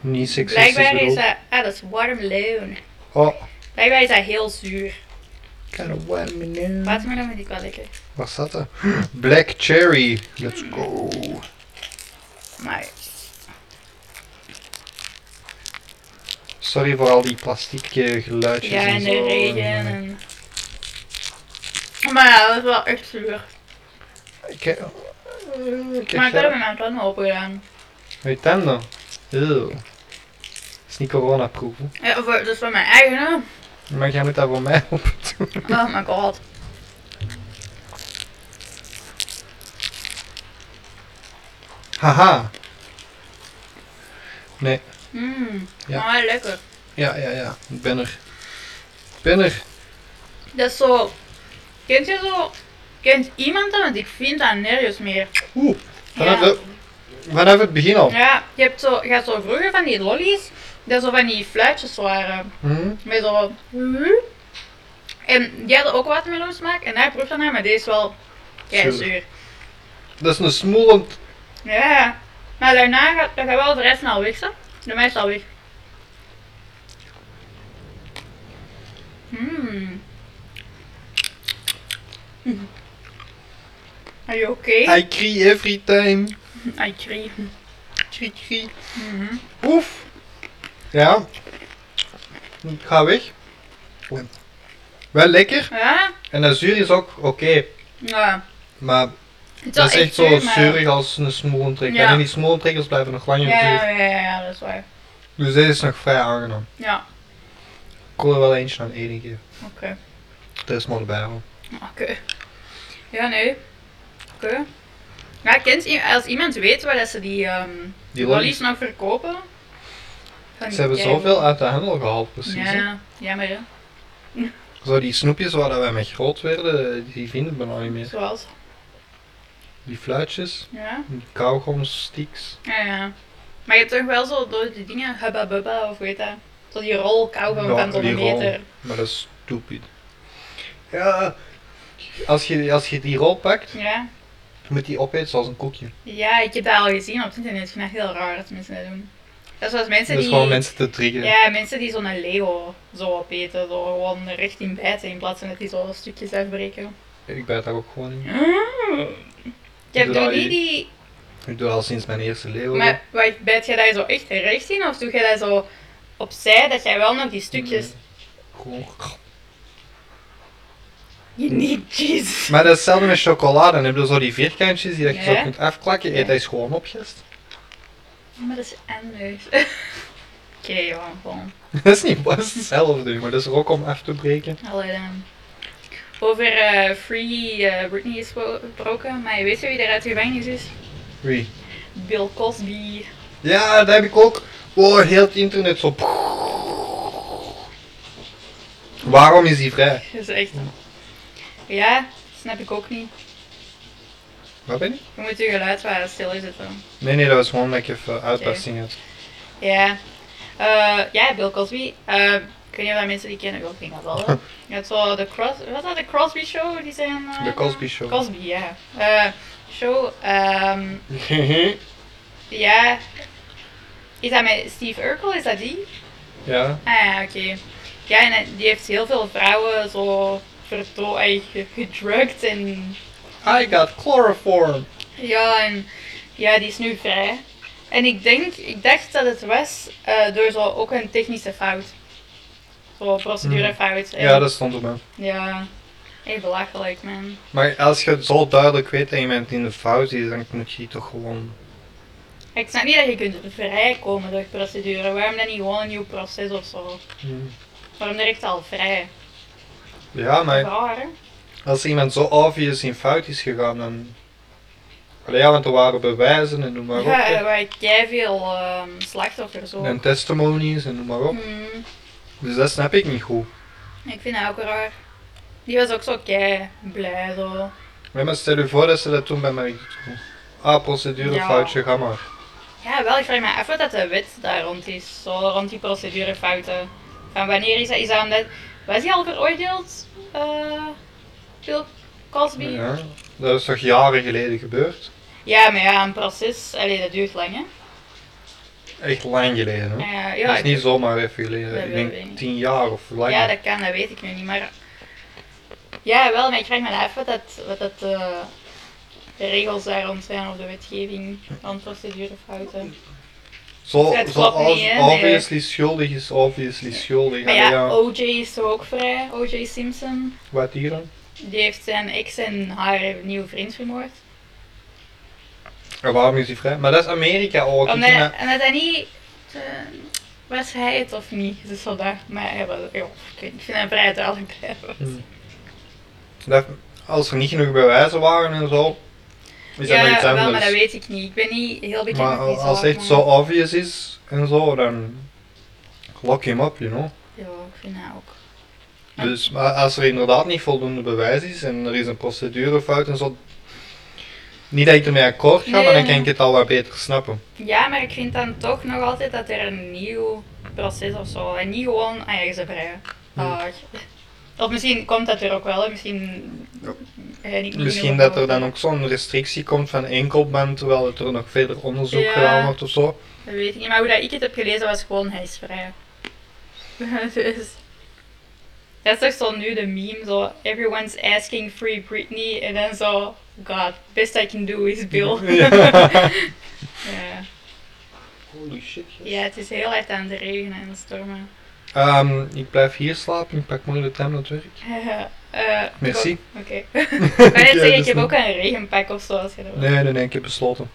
Speaker 3: Niet seksistisch
Speaker 2: Blijkbaar is
Speaker 3: bedoeld.
Speaker 2: dat... Ah, dat is watermeloen.
Speaker 3: Oh,
Speaker 2: Blijkbaar is dat heel zuur.
Speaker 3: kind of watermelon.
Speaker 2: Watermeloen vind ik wel lekker.
Speaker 3: Wat staat er? Black cherry. Let's go.
Speaker 2: Maar...
Speaker 3: Sorry voor al die plastieke geluidjes
Speaker 2: Ja,
Speaker 3: en
Speaker 2: en
Speaker 3: zo.
Speaker 2: de regen en... Maar ja, dat is wel echt zuur.
Speaker 3: Ik heb... Ik
Speaker 2: Maar ik heb het
Speaker 3: heb...
Speaker 2: met mijn tanden open gedaan.
Speaker 3: Mijn tanden. Eeuw. is niet corona-proeven.
Speaker 2: Ja, voor, dat is voor mijn eigen, hè.
Speaker 3: Maar jij moet dat voor mij op doen.
Speaker 2: Oh my god.
Speaker 3: Haha.
Speaker 2: Mmm,
Speaker 3: Ja.
Speaker 2: maar wel lekker.
Speaker 3: Ja, ja, ja. Ik ben er. Ik ben er.
Speaker 2: Dat is zo... Kent je zo... Kent iemand dat? Want ik vind dat nergens meer.
Speaker 3: Oeh. Vanaf,
Speaker 2: Ja.
Speaker 3: de- vanaf het begin al.
Speaker 2: Ja, je hebt zo... Je had zo vroeger van die lollies, dat zo van die fluitjes waren.
Speaker 3: Hm?
Speaker 2: Met zo... Hmm? En die hadden ook watermeloensmaak en daar proefde naar, maar deze is wel... Keizuur.
Speaker 3: Dat is een smoelend...
Speaker 2: Ja. Maar daarna gaat, dat gaat wel vrij snel weg, zo. De meeste al weg. Mmm. Hm. Are you okay?
Speaker 3: I cry every time.
Speaker 2: I cry.
Speaker 3: Hm. Krie, krie.
Speaker 2: Mhm.
Speaker 3: Oef. Ja. Ik ga weg. Oeh. Wel lekker.
Speaker 2: Ja?
Speaker 3: En dat zuur is ook oké.
Speaker 2: Ja.
Speaker 3: Maar
Speaker 2: Het
Speaker 3: dat is
Speaker 2: wel
Speaker 3: echt zo
Speaker 2: maar-
Speaker 3: zuurig als een smoelentrekker.
Speaker 2: Ja.
Speaker 3: En die smoelentrekkers blijven nog langer
Speaker 2: Ja,
Speaker 3: zuur.
Speaker 2: ja, ja, ja, dat is waar.
Speaker 3: Dus deze is nog vrij aangenaam.
Speaker 2: Ja,
Speaker 3: Ik wil er wel eentje aan Eden geven.
Speaker 2: oké.
Speaker 3: Dat is maar erbij hoor.
Speaker 2: Oké. Ja, nee. Oké. Ja, kent, i- als iemand weet waar dat ze die, ehm
Speaker 3: Die
Speaker 2: lollies
Speaker 3: lollies.
Speaker 2: nog verkopen... van
Speaker 3: Ze
Speaker 2: die
Speaker 3: hebben
Speaker 2: keigoed-
Speaker 3: zoveel uit de handel gehaald precies. hè.
Speaker 2: Ja, jammer hè.
Speaker 3: Zo die snoepjes waar dat wij mee groot werden, die vinden we nou niet meer.
Speaker 2: Zoals.
Speaker 3: Die fluitjes,
Speaker 2: Ja.
Speaker 3: die kauwgomsticks.
Speaker 2: ja, ja. Maar je hebt toch wel zo door die dingen, hubba bubba of weet dat. Zo die rol kauwgom
Speaker 3: Ja,
Speaker 2: van zo'n
Speaker 3: die rol.
Speaker 2: meter.
Speaker 3: Maar dat is stupid. Ja, als je, als je die rol pakt,
Speaker 2: Ja.
Speaker 3: moet die opeten zoals een koekje.
Speaker 2: ja, ik heb dat al gezien op het internet. Ik vind dat heel raar dat mensen dat doen. Dat is zoals mensen
Speaker 3: Dat is
Speaker 2: die...
Speaker 3: gewoon mensen te triggeren.
Speaker 2: Ja, mensen die zo'n Lego zo opeten, zo gewoon recht in bijten in plaats van dat die zo stukjes afbreken.
Speaker 3: Ik bijt daar ook gewoon in.
Speaker 2: Je hebt
Speaker 3: Draai
Speaker 2: toch
Speaker 3: je.
Speaker 2: niet die...
Speaker 3: Ik doe dat al sinds mijn eerste leeuw.
Speaker 2: Maar wat, bijt jij daar zo echt recht in of doe jij dat zo opzij dat jij wel nog die stukjes...
Speaker 3: Gewoon.
Speaker 2: Je niet cheese.
Speaker 3: Maar dat is hetzelfde met chocolade. Dan heb je zo die vierkantjes die dat je
Speaker 2: Ja.
Speaker 3: zo kunt afklakken. Eet dat is gewoon opgest.
Speaker 2: Maar dat is anders. Oké, ja, gewoon.
Speaker 3: dat is niet dat is hetzelfde, maar dat is er ook om af te breken.
Speaker 2: Allee dan. Over eh, Free eh, Britney is gespro- gesproken, maar weet je wie er uit de gevangenis is?
Speaker 3: Wie?
Speaker 2: Bill Cosby.
Speaker 3: Ja, dat heb ik ook. Oh, heel het internet zo. Waarom is die vrij?
Speaker 2: Dat is echt... Ja, snap ik ook niet.
Speaker 3: Waar ben ik?
Speaker 2: Je moet je geluid waar stil is het dan.
Speaker 3: Nee, nee, dat was gewoon dat ik even uitbarsting had.
Speaker 2: Ja. Eh, ja, Bill Cosby. Eh, ik weet niet of dat mensen die kennen, ik denk dat wel. hè. Je had zo de Cros was dat de Crosby Show? Die zijn, eh,
Speaker 3: De Cosby Show.
Speaker 2: Cosby, ja. Eh, show, ehm, ja. Is dat met Steve Urkel, is dat die?
Speaker 3: ja.
Speaker 2: Ah ja, oké. Ja, en hij- die heeft heel veel vrouwen zo verto eh, ge- gedrukt en
Speaker 3: I got chloroform.
Speaker 2: ja, en ja, die is nu vrij. En ik denk, ik dacht dat het was eh, door zo ook een technische fout. Zo'n procedurefout. En-
Speaker 3: Hmm. Ja, dat stond op hem.
Speaker 2: Ja, heel belachelijk man.
Speaker 3: Maar als je het zo duidelijk weet en je bent in de fout, is, dan moet je toch gewoon...
Speaker 2: Ik snap niet dat je kunt vrijkomen door procedure. Waarom dan niet gewoon een nieuw proces of zo? Waarom direct al vrij?
Speaker 3: Ja, maar
Speaker 2: Raar, hè?
Speaker 3: als iemand zo obvious in fout is gegaan, dan... Allee, ja, want er waren bewijzen en noem maar op.
Speaker 2: Ja,
Speaker 3: hè.
Speaker 2: eh, waar jij veel ehm, slachtoffers ook.
Speaker 3: En testimonies en noem maar op.
Speaker 2: Hmm.
Speaker 3: Dus dat snap ik niet goed.
Speaker 2: Ik vind dat ook raar. Die was ook zo kei blij zo.
Speaker 3: Ja, maar stel je voor dat ze dat toen bij mij doen. Ah, procedure
Speaker 2: Ja.
Speaker 3: foutje, ga maar.
Speaker 2: Ja, wel, ik vraag me af wat dat de wet daar rond is. Zo rond die procedurefouten. Van wanneer is dat? Is dat omdat... Was hij al veroordeeld? eh Bill Cosby? Ja.
Speaker 3: Ja, dat is toch jaren geleden gebeurd?
Speaker 2: maar ja, een proces, allee, dat duurt lang hè.
Speaker 3: Echt lang geleden, hè?
Speaker 2: Eh,
Speaker 3: dat
Speaker 2: ja,
Speaker 3: is
Speaker 2: ik-
Speaker 3: niet zomaar even
Speaker 2: Dat
Speaker 3: geleden. Ik
Speaker 2: weet ik
Speaker 3: denk
Speaker 2: niet.
Speaker 3: tien jaar of langer.
Speaker 2: ja, dat kan, dat weet ik nu niet. Maar ja, wel, maar ik vraag me af wat dat, wat dat eh, de regels daar rond zijn of de wetgeving rond procedurefouten.
Speaker 3: Zo,
Speaker 2: Het
Speaker 3: zo
Speaker 2: klopt niet,
Speaker 3: ob-
Speaker 2: hè? Nee.
Speaker 3: obviously schuldig is obviously schuldig.
Speaker 2: Maar
Speaker 3: Allee,
Speaker 2: ja, oh. OJ is toch ook vrij, OJ Simpson.
Speaker 3: Wat hier dan?
Speaker 2: Die heeft zijn ex en haar nieuwe vriend vermoord.
Speaker 3: En waarom is hij vrij? Maar dat is Amerika ook.
Speaker 2: Omdat,
Speaker 3: ik vind dat-
Speaker 2: omdat hij niet... eh, was hij het of niet? Dus zo daar. Maar hij was, ja, ik weet niet, ik vind hem vrij duidelijk.
Speaker 3: Hmm. dat, als er niet genoeg bewijzen waren en zo, is
Speaker 2: ja,
Speaker 3: dat nog iets
Speaker 2: wel,
Speaker 3: anders.
Speaker 2: maar dat weet ik niet. Ik ben niet heel bekend
Speaker 3: Maar
Speaker 2: met die
Speaker 3: als
Speaker 2: zaak,
Speaker 3: het echt zo
Speaker 2: maar-
Speaker 3: obvious is en zo, dan lock hem op, you know.
Speaker 2: Ja, ik vind dat ook. Ja.
Speaker 3: Dus maar als er inderdaad niet voldoende bewijs is en er is een procedurefout en zo, niet dat ik ermee akkoord ga, maar
Speaker 2: Nee,
Speaker 3: dan
Speaker 2: nee.
Speaker 3: kan ik het al wat beter snappen.
Speaker 2: Ja, maar ik vind dan toch nog altijd dat er een nieuw proces of zo. En niet gewoon, ah ja, je bent vrij.
Speaker 3: Hm.
Speaker 2: Dag. Of misschien komt dat er ook wel, hè. misschien.
Speaker 3: Ja.
Speaker 2: eh, niet- niet
Speaker 3: Misschien
Speaker 2: meer
Speaker 3: dat er
Speaker 2: over.
Speaker 3: dan ook zo'n restrictie komt van enkel band, terwijl het er nog verder onderzoek
Speaker 2: Ja.
Speaker 3: gedaan wordt of zo.
Speaker 2: Dat weet ik niet, maar hoe dat ik het heb gelezen was gewoon hij is vrij. dus. Dat is toch zo nu de meme, zo everyone's asking free Britney en dan zo, god, best I can do is Bill.
Speaker 3: Ja.
Speaker 2: ja.
Speaker 3: Holy shit.
Speaker 2: ja, het is heel hard aan het regenen en stormen.
Speaker 3: Ehm, ik blijf hier slapen, ik pak moeilijk de time naar het werk.
Speaker 2: Eh,
Speaker 3: Merci.
Speaker 2: Oké. Maar net zeggen,
Speaker 3: Ja, dat
Speaker 2: ik
Speaker 3: is
Speaker 2: heb
Speaker 3: niet-
Speaker 2: ook een regenpak of zo als je dat wil.
Speaker 3: Nee, nee, nee, ik heb besloten.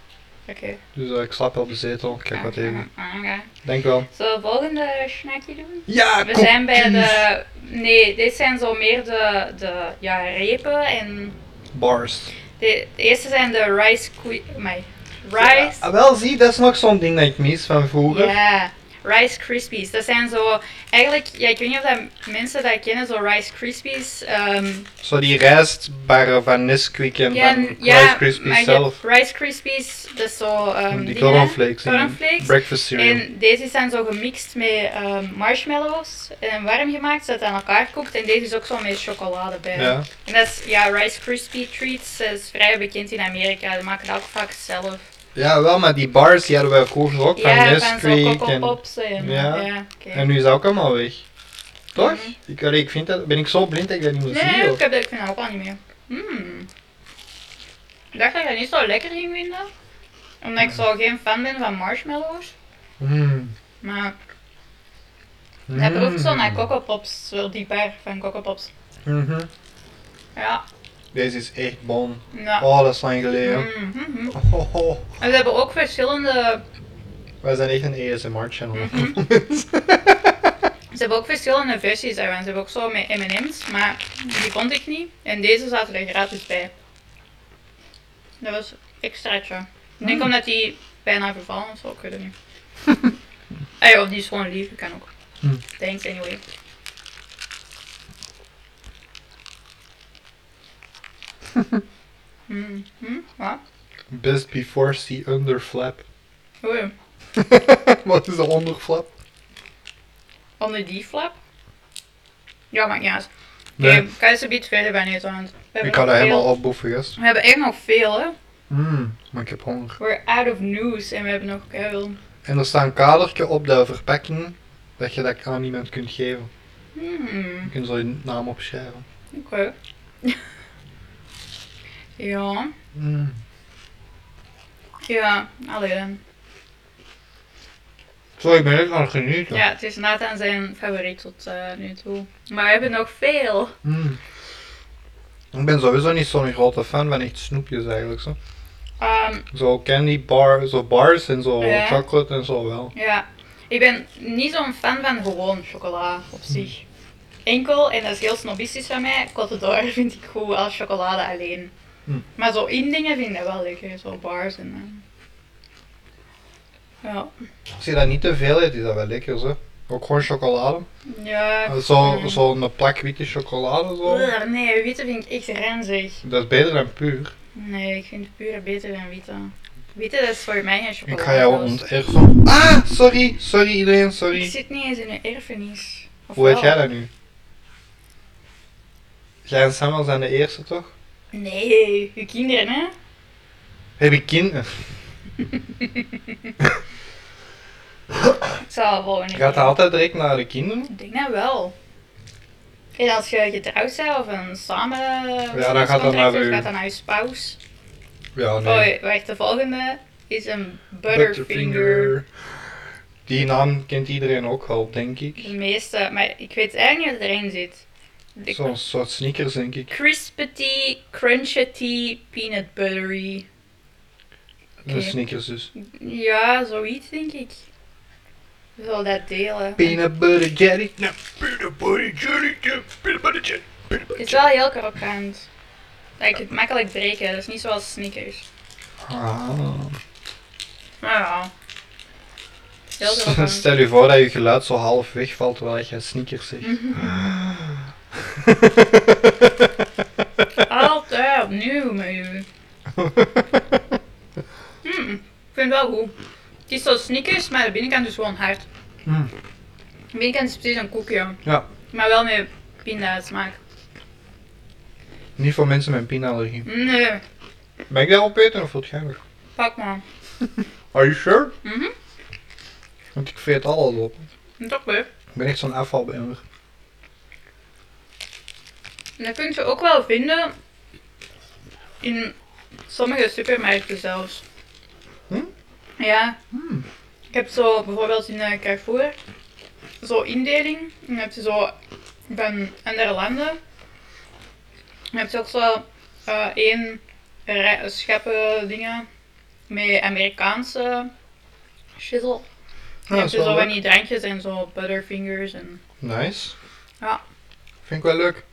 Speaker 2: Oké.
Speaker 3: Dus eh, ik slaap wel de zetel, ik kijk wat even.
Speaker 2: Oké.
Speaker 3: Denk wel.
Speaker 2: Zullen we volgende snackje doen?
Speaker 3: Ja,
Speaker 2: We zijn bij de... Nee, dit zijn zo meer de, de ja, repen en...
Speaker 3: Bars.
Speaker 2: De, de eerste zijn de rice cri- amai. Rice...
Speaker 3: Ja, Ah, wel, zie, dat is nog zo'n ding dat ik mis van vroeger.
Speaker 2: Ja, Rice Krispies. Dat zijn zo... Eigenlijk, ja, ik weet niet of dat mensen dat kennen, zo Rice Krispies. ehm,
Speaker 3: Zo die rijstbarren van Nesquik en
Speaker 2: ja,
Speaker 3: van
Speaker 2: ja,
Speaker 3: Rice
Speaker 2: maar
Speaker 3: Krispies
Speaker 2: je
Speaker 3: zelf.
Speaker 2: hebt Rice Krispies, dat is zo... ehm
Speaker 3: die
Speaker 2: dingen, hè?
Speaker 3: cornflakes en
Speaker 2: cornflakes.
Speaker 3: breakfast cereal.
Speaker 2: En deze zijn zo gemixt met ehm, marshmallows en warm gemaakt, zodat het aan elkaar koekt. En deze is ook zo met chocolade bij.
Speaker 3: ja.
Speaker 2: En dat is, ja, Rice Krispie Treats dat is vrij bekend in Amerika. Die maken dat ook vaak zelf.
Speaker 3: ja, wel, maar die bars die hadden we vroeger ook van
Speaker 2: ja, van zo'n
Speaker 3: Nesquik.
Speaker 2: Coco
Speaker 3: En,
Speaker 2: Pops. En, eh,
Speaker 3: Ja.
Speaker 2: ja, oké.
Speaker 3: en nu is dat ook allemaal weg. Toch?
Speaker 2: Mhm.
Speaker 3: Ik, allee, ik vind dat, ben ik zo blind dat ik dat niet meer
Speaker 2: Nee,
Speaker 3: zie?
Speaker 2: nee,
Speaker 3: of-
Speaker 2: ik, heb, dat- ik vind dat ook al niet meer. Mm. Ik dacht dat ik dat niet zo lekker ging vinden. Omdat ik zo geen fan ben van marshmallows.
Speaker 3: Mm.
Speaker 2: Maar dat proeft zo
Speaker 3: Hmm.
Speaker 2: naar Coco Pops. Zo die bar van Coco Pops.
Speaker 3: Mhm.
Speaker 2: Ja.
Speaker 3: Deze is echt bon.
Speaker 2: ja.
Speaker 3: Oh, dat is lang geleden.
Speaker 2: Mm, mhm.
Speaker 3: Oh, oh, oh.
Speaker 2: En we hebben ook verschillende,
Speaker 3: Wij zijn echt een ASMR-channel.
Speaker 2: Mhm. ze hebben ook verschillende versies daarvan. Ze hebben ook zo met M&M's, maar die vond ik niet. En deze zaten er gratis bij. Dat was extraatje. Ik denk omdat die bijna vervallen is, ook ik weet het niet. Ah joh, die is gewoon lief, ik kan ook.
Speaker 3: Hm.
Speaker 2: Thanks anyway. Hm, hm, wat?
Speaker 3: Best before see underflap.
Speaker 2: Oh Oei.
Speaker 3: Wat is de onderflap?
Speaker 2: Onder die flap? Ja, maakt niet uit.
Speaker 3: Nee.
Speaker 2: Ik ga eens een beetje verder bij neer, want we hebben
Speaker 3: Ik ga
Speaker 2: nog
Speaker 3: dat
Speaker 2: veel-
Speaker 3: helemaal opboeven, gast.
Speaker 2: We hebben echt nog veel, hè.
Speaker 3: Mm, maar ik heb honger.
Speaker 2: We're out of news en we hebben nog veel.
Speaker 3: En er staat een kadertje op de verpakking dat je dat aan iemand kunt geven. Je
Speaker 2: Hmm,
Speaker 3: kunt zo je naam opschrijven.
Speaker 2: oké. ja,
Speaker 3: Mm.
Speaker 2: ja, alleen.
Speaker 3: Zo, ik ben echt aan het genieten.
Speaker 2: Ja, het is Nathan zijn favoriet tot eh, nu toe. Maar we hebben nog veel.
Speaker 3: Mm. Ik ben sowieso niet zo'n grote fan van echt snoepjes eigenlijk. Zo,
Speaker 2: Ehm,
Speaker 3: zo candy bar, zo bars en zo
Speaker 2: Ja.
Speaker 3: chocolate en zo wel.
Speaker 2: ja, ik ben niet zo'n fan van gewoon chocola op
Speaker 3: Hmm.
Speaker 2: zich. Enkel, en dat is heel snobistisch van mij, Côte d'Or vind ik goed als chocolade alleen.
Speaker 3: Hmm.
Speaker 2: Maar zo in dingen vind ik dat wel lekker, zo bars en... eh, Ja,
Speaker 3: Als je dat niet te veel eet, is dat wel lekker zo. Ook gewoon chocolade.
Speaker 2: ja...
Speaker 3: Zo-
Speaker 2: mm.
Speaker 3: Zo'n plak witte chocolade zo.
Speaker 2: Brr, Nee, witte vind ik echt ranzig.
Speaker 3: Dat is beter dan puur.
Speaker 2: Nee, ik vind pure beter dan witte. Witte dat is voor mij een chocolade.
Speaker 3: Ik ga jou onterven. Ah, sorry, sorry iedereen, sorry.
Speaker 2: Ik zit niet eens in een erfenis. Of
Speaker 3: Hoe heet
Speaker 2: wel?
Speaker 3: jij dat nu? Jij en Samuel zijn de eerste toch?
Speaker 2: Nee, je kinderen hè?
Speaker 3: Heb ik kinderen?
Speaker 2: Het zal wel een
Speaker 3: Gaat dat altijd direct naar de kinderen?
Speaker 2: Ik denk dat wel. En als je getrouwd bent of een samen.
Speaker 3: gaat dat
Speaker 2: contract
Speaker 3: naar
Speaker 2: hebt,
Speaker 3: u.
Speaker 2: gaat dat naar je spouse.
Speaker 3: Ja,
Speaker 2: Oh, wacht, de volgende is een Butterfinger.
Speaker 3: Die naam kent iedereen ook wel, denk
Speaker 2: De
Speaker 3: ik.
Speaker 2: meeste, maar ik weet eigenlijk niet wat erin zit. De
Speaker 3: Zo'n soort sneakers, denk ik.
Speaker 2: Crispity, crunchity, peanut buttery. Oké.
Speaker 3: De sneakers dus.
Speaker 2: Ja, zoiets denk ik. We zullen dat delen.
Speaker 3: Peanut butter jelly. Nou, peanut butter jelly. ja, Peanut butter jelly. peanut
Speaker 2: Het
Speaker 3: butter
Speaker 2: is wel heel krokant. Dat ik het makkelijk breken, dat is niet zoals sneakers.
Speaker 3: jelly. Ah.
Speaker 2: Nou ja. Heel krokant.
Speaker 3: Stel je voor dat je geluid zo half wegvalt terwijl je sneakers zegt.
Speaker 2: Altijd opnieuw met u. Mm, ik vind het wel goed. Het is zo sneakers, maar de binnenkant is gewoon hard.
Speaker 3: Mm.
Speaker 2: De binnenkant is precies een koekje,
Speaker 3: Ja,
Speaker 2: maar wel met pindasmaak.
Speaker 3: niet voor mensen met pinallergie.
Speaker 2: Nee,
Speaker 3: Ben ik daarop eten of wat geinig?
Speaker 2: pak maar.
Speaker 3: Are you sure?
Speaker 2: Mhm,
Speaker 3: Want ik veet alles op.
Speaker 2: toch weer.
Speaker 3: Ik ben echt zo'n afvalbeender.
Speaker 2: En dat kun je ook wel vinden in sommige supermarkten zelfs.
Speaker 3: Hm?
Speaker 2: Ja.
Speaker 3: Hmm.
Speaker 2: Ik heb zo bijvoorbeeld in eh, Carrefour zo'n indeling. En dan heb je zo van andere landen. En Dan heb je ook zo eh, één rij- scheppen dingen met Amerikaanse shizzle. En
Speaker 3: Ja,
Speaker 2: dan heb
Speaker 3: Ah, dat
Speaker 2: je
Speaker 3: is
Speaker 2: zo
Speaker 3: wel
Speaker 2: van
Speaker 3: leuk.
Speaker 2: die drankjes en zo butterfingers en
Speaker 3: Nice.
Speaker 2: Ja.
Speaker 3: Vind ik wel leuk.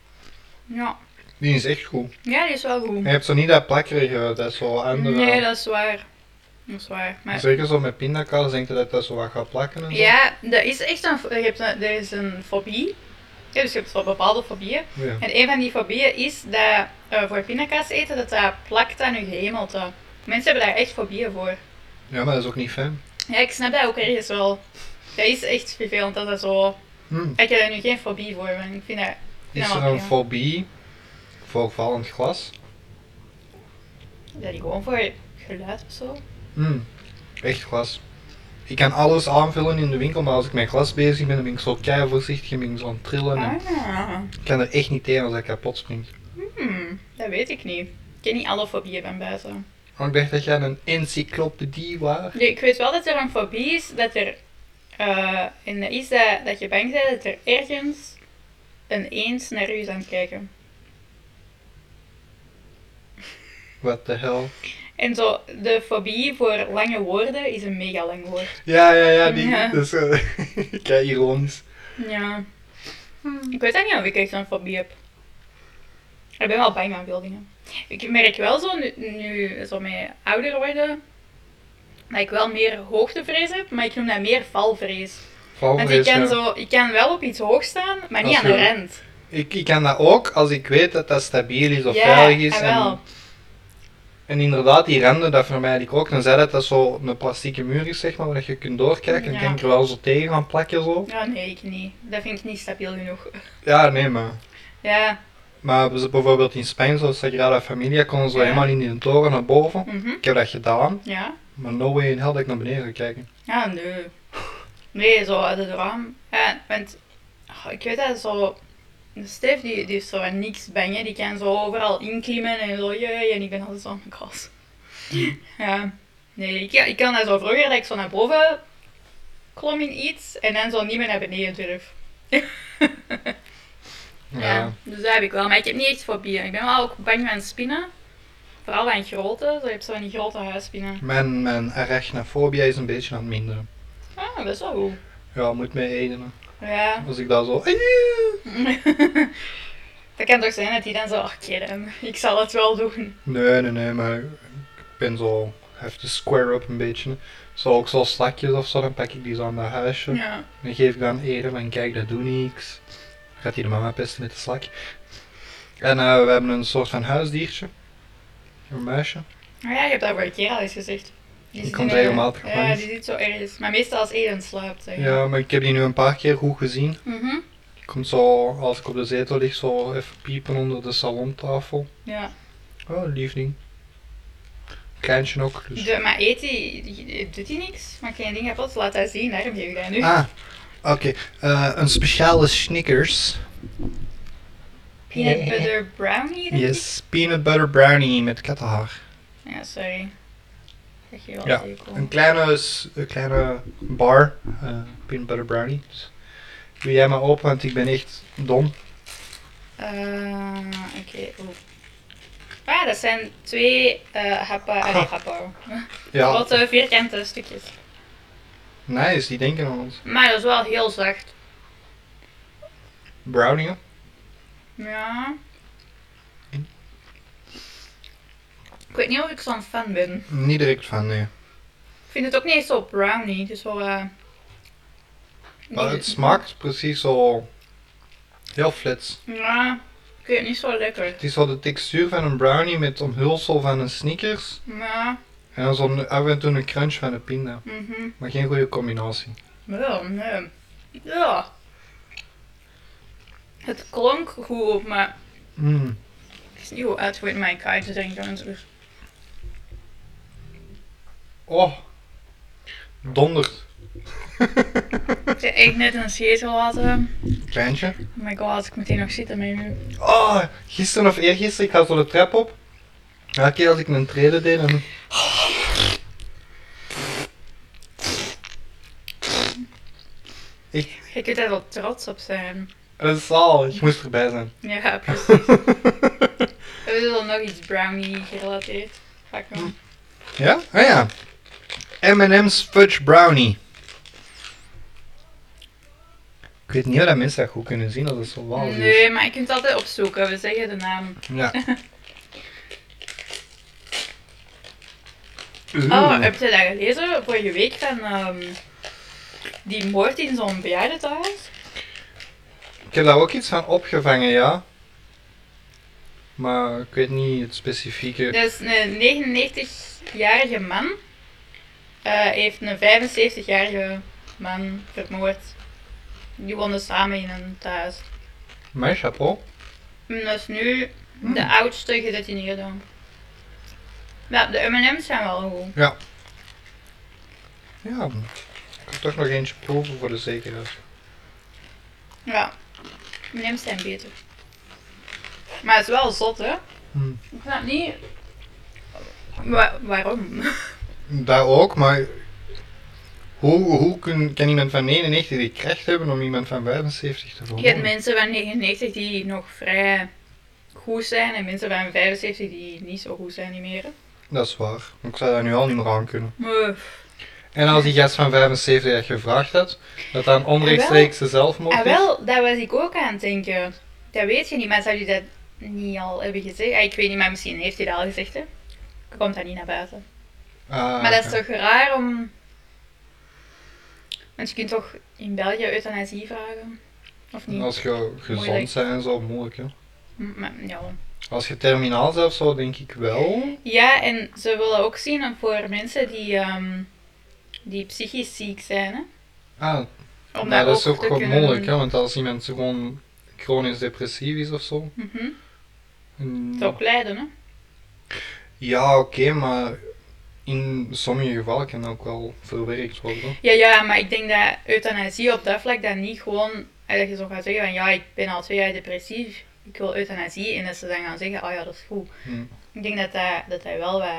Speaker 2: ja.
Speaker 3: Die is echt goed.
Speaker 2: Ja, die is wel goed.
Speaker 3: Je hebt zo niet dat plakkerige, dat zo andere...
Speaker 2: Nee, dat is waar. Dat is waar. Maar
Speaker 3: Zeker zo met pindakaas denk je dat dat zo wat gaat plakken en zo.
Speaker 2: ja, dat is echt een, je hebt een, er is een fobie. Ja, dus je hebt zo bepaalde fobieën.
Speaker 3: Ja.
Speaker 2: En een van die fobieën is dat eh, voor pindakaas eten, dat dat plakt aan je hemelte. Mensen hebben daar echt fobieën voor.
Speaker 3: Ja, maar dat is ook niet fijn.
Speaker 2: Ja, ik snap dat ook ergens wel. Dat is echt vervelend dat dat zo...
Speaker 3: Hmm.
Speaker 2: Ik heb daar nu geen fobie voor, want ik vind dat...
Speaker 3: Is
Speaker 2: Nou,
Speaker 3: er een
Speaker 2: ja.
Speaker 3: fobie voor vallend glas?
Speaker 2: Dat ik gewoon voor geluid of zo.
Speaker 3: Hmm. Echt glas. Ik kan alles aanvullen in de winkel, maar als ik met glas bezig ben, dan ben ik zo kei voorzichtig en ben ik zo aan het trillen. En
Speaker 2: Ah,
Speaker 3: ik kan er echt niet tegen als ik kapot springt.
Speaker 2: hmm, dat weet ik niet. Ik ken niet alle fobieën van buiten.
Speaker 3: Maar ik dacht dat jij een encyclopedie was.
Speaker 2: Nee, ik weet wel dat er een fobie is dat er. eh en dat is dat, dat je bang bent dat er ergens een eend naar u is aan het kijken.
Speaker 3: What the hell.
Speaker 2: En zo, de fobie voor lange woorden is een mega lang woord.
Speaker 3: Ja, ja, ja, die.
Speaker 2: Ja.
Speaker 3: Dus, eh, kei ironisch.
Speaker 2: Ja. Ik weet eigenlijk niet of ik echt zo'n fobie heb. Ik ben wel bang aan veel dingen. Ik merk wel zo, nu, nu zo met ouder worden, dat ik wel meer hoogtevrees heb, maar ik noem dat meer valvrees. Want ik
Speaker 3: Valvrees,
Speaker 2: kan,
Speaker 3: ja.
Speaker 2: zo, ik kan wel op iets hoog staan, maar niet
Speaker 3: Als
Speaker 2: aan de
Speaker 3: je-
Speaker 2: rand.
Speaker 3: Ik, ik kan dat ook als ik weet dat dat stabiel is of
Speaker 2: Ja, ah,
Speaker 3: veilig is.
Speaker 2: jawel.
Speaker 3: En inderdaad, die randen, dat vermijd ik ook. Dan zei dat dat zo een plastieke muur is, zeg maar, waar je kunt doorkijken. Dan
Speaker 2: Ja.
Speaker 3: kan ik er wel zo tegen gaan plakken, zo.
Speaker 2: Ja, nee, ik niet. Dat vind ik niet stabiel genoeg.
Speaker 3: Ja, nee, maar...
Speaker 2: Ja,
Speaker 3: Maar we- bijvoorbeeld in Spanje, zoals Sagrada Familia, konden ze
Speaker 2: Ja.
Speaker 3: helemaal in die toren naar boven.
Speaker 2: mhm.
Speaker 3: Ik heb dat gedaan,
Speaker 2: ja.
Speaker 3: maar no way in hell dat ik naar beneden ga kijken.
Speaker 2: Ja, nee. Nee, zo uit het raam. Ja, want ah, ik weet dat zo. Stef die, die is zo aan niks bang, hè. die kan zo overal inklimmen en zo, jee, en ik ben altijd zo aan mijn kast. Ja, nee, ik, ik kan dat zo vroeger, dat ik zo naar boven klom in iets en dan zo niet meer naar beneden durf. Ja. dus dat heb ik wel, maar ik heb niet echt fobieën. Ik ben wel ook bang van spinnen, vooral van grote, zo heb je zo van die grote huisspinnen.
Speaker 3: Mijn, mijn arachnofobia is een beetje aan het minderen.
Speaker 2: Ah, dat is wel goed.
Speaker 3: Ja, moet mij eden.
Speaker 2: Ja.
Speaker 3: Als ik daar zo...
Speaker 2: dat kan toch zijn dat die dan zo, ach keren, ik zal het wel doen.
Speaker 3: Nee, nee, nee, maar ik ben zo... Have to square up een beetje. Zo ook zo slakjes of zo, dan pak ik die zo aan dat huisje.
Speaker 2: Ja.
Speaker 3: Dan geef ik dan eren van kijk, dat doet niks. Gaat hij de mama pesten met de slak. En eh, we hebben een soort van huisdiertje. Een muisje.
Speaker 2: Maar ja, je hebt dat voor een keer al eens gezegd.
Speaker 3: Die
Speaker 2: zit
Speaker 3: komt
Speaker 2: in, eh,
Speaker 3: regelmatig
Speaker 2: Ja,
Speaker 3: langs.
Speaker 2: die zit zo ergens. Maar meestal als Eden slaapt, zeg.
Speaker 3: Ja, maar ik heb die nu een paar keer goed gezien.
Speaker 2: Mhm.
Speaker 3: Ik kom zo, als ik op de zetel lig, zo even piepen onder de salontafel.
Speaker 2: ja.
Speaker 3: Oh, lief ding. Kleintje ook. Dus.
Speaker 2: De- maar eet die, die- die- doet die niks? Maar geen ding kapot, laat dat zien, daarom geef ik dat nu.
Speaker 3: Ah, oké. Eh, een speciale Snickers.
Speaker 2: Peanut butter brownie, denk
Speaker 3: Yes, peanut butter brownie met kattenhaar.
Speaker 2: ik? Ja, sorry. Dat je wel
Speaker 3: Ja,
Speaker 2: tegenkomt.
Speaker 3: Een kleine, s- een kleine bar, eh, peanut butter brownie. Dus doe jij maar open, want ik ben echt dom.
Speaker 2: Eh, Oké, oeh. Ah, dat zijn twee eh happen, allee, happen.
Speaker 3: Ja,
Speaker 2: Grote vierkante stukjes.
Speaker 3: nice, die denken aan ons.
Speaker 2: Maar dat is wel heel zacht.
Speaker 3: Brownie, hè?
Speaker 2: Ja. Ik weet niet of ik zo'n fan ben.
Speaker 3: niet direct van, nee.
Speaker 2: Ik vind het ook niet eens zo brownie. Het is wel. eh,
Speaker 3: Maar
Speaker 2: niet-
Speaker 3: het smaakt precies zo heel flits.
Speaker 2: Ja, ik vind het niet zo lekker.
Speaker 3: Het is zo de textuur van een brownie met omhulsel van een Snickers.
Speaker 2: Ja,
Speaker 3: En dan zo'n af en toe een crunch van een pinda.
Speaker 2: mhm.
Speaker 3: Maar geen goede combinatie.
Speaker 2: Ja, nee. Ja. Het klonk goed, maar
Speaker 3: Mm.
Speaker 2: het is niet hoe uitgevoerd in mijn kaartjes denk ik. want het is-
Speaker 3: Oh, donderd.
Speaker 2: Ik heb echt net een zetel laten.
Speaker 3: Kleintje.
Speaker 2: Oh my god, ik meteen nog zitten met nu.
Speaker 3: Oh, gisteren of eergisteren, ik ga zo de trap op. Elke keer als ik een treden deed, dan...
Speaker 2: Je kunt daar wel trots op zijn.
Speaker 3: Dat is zalig, ik moest erbij zijn.
Speaker 2: Ja, precies. We hebben wel nog iets brownie gerelateerd. Ga ik doen.
Speaker 3: Ja? Oh ja. M&M's Fudge Brownie. Ik weet niet of dat mensen dat goed kunnen zien, dat is zo waanzinnig.
Speaker 2: Nee, maar je kunt het altijd opzoeken. We zeggen de naam.
Speaker 3: Ja.
Speaker 2: Oh, heb je dat gelezen vorige week van ehm, die moord in zo'n bejaardentehuis?
Speaker 3: Ik heb daar ook iets van opgevangen, ja. Maar ik weet niet het specifieke.
Speaker 2: Dat is een 99-jarige man eh, heeft een 75-jarige man vermoord. Die woonden samen in een thuis.
Speaker 3: Mijn chapeau.
Speaker 2: En dat is nu de oudste gedetineerde. Ja, de M&M's zijn wel goed.
Speaker 3: Ja. Ik kan toch nog eentje proeven voor de zekerheid.
Speaker 2: Ja, M&M's zijn beter. Maar het is wel zot, hè?
Speaker 3: Hm.
Speaker 2: Ik snap niet... Wa- waarom?
Speaker 3: Dat ook, maar hoe, hoe kun, kan iemand van 99 die kracht hebben om iemand van 75 te
Speaker 2: Je hebt
Speaker 3: vermoorden?
Speaker 2: mensen van 99 die nog vrij goed zijn en mensen van 75 die niet zo goed zijn niet meer.
Speaker 3: Dat is waar. Ik zou dat nu al niet meer aan kunnen.
Speaker 2: Maar
Speaker 3: En als die gast van 75 dat gevraagd had, dat dat een onrechtstreekse zelfmoord
Speaker 2: ah,
Speaker 3: is.
Speaker 2: wel, daar was ik ook aan het denken. Dat weet je niet, maar zou je dat niet al hebben gezegd? Ah, ik weet niet, maar misschien heeft hij dat al gezegd, hè? Komt dat niet naar buiten.
Speaker 3: Ah,
Speaker 2: maar dat is
Speaker 3: oké.
Speaker 2: toch raar om... Want je kunt toch in België euthanasie vragen? Of niet?
Speaker 3: Nou. Als je gezond
Speaker 2: Moeilijk.
Speaker 3: zijn en zo, moeilijk hè.
Speaker 2: M- maar, ja.
Speaker 3: Als je terminaal zelf zo, denk ik wel.
Speaker 2: Ja, en ze willen ook zien voor mensen die, ehm, die psychisch ziek zijn. Hè?
Speaker 3: Ah,
Speaker 2: Om
Speaker 3: maar dat is
Speaker 2: ook
Speaker 3: ook
Speaker 2: te
Speaker 3: gewoon
Speaker 2: kunnen-
Speaker 3: moeilijk, hè, want als iemand gewoon chronisch depressief is of zo.
Speaker 2: Mhm.
Speaker 3: mm,
Speaker 2: Het is ook lijden, hè?
Speaker 3: Ja, oké, maar in sommige gevallen kan dat ook wel verwerkt worden.
Speaker 2: Ja, ja, maar ik denk dat euthanasie op dat vlak dan niet gewoon... eh, Dat je zo gaat zeggen van, ja, ik ben al twee jaar depressief, ik wil euthanasie. En dat ze dan gaan zeggen, oh ja, dat is goed.
Speaker 3: Hm.
Speaker 2: Ik denk dat dat, dat hij wel wat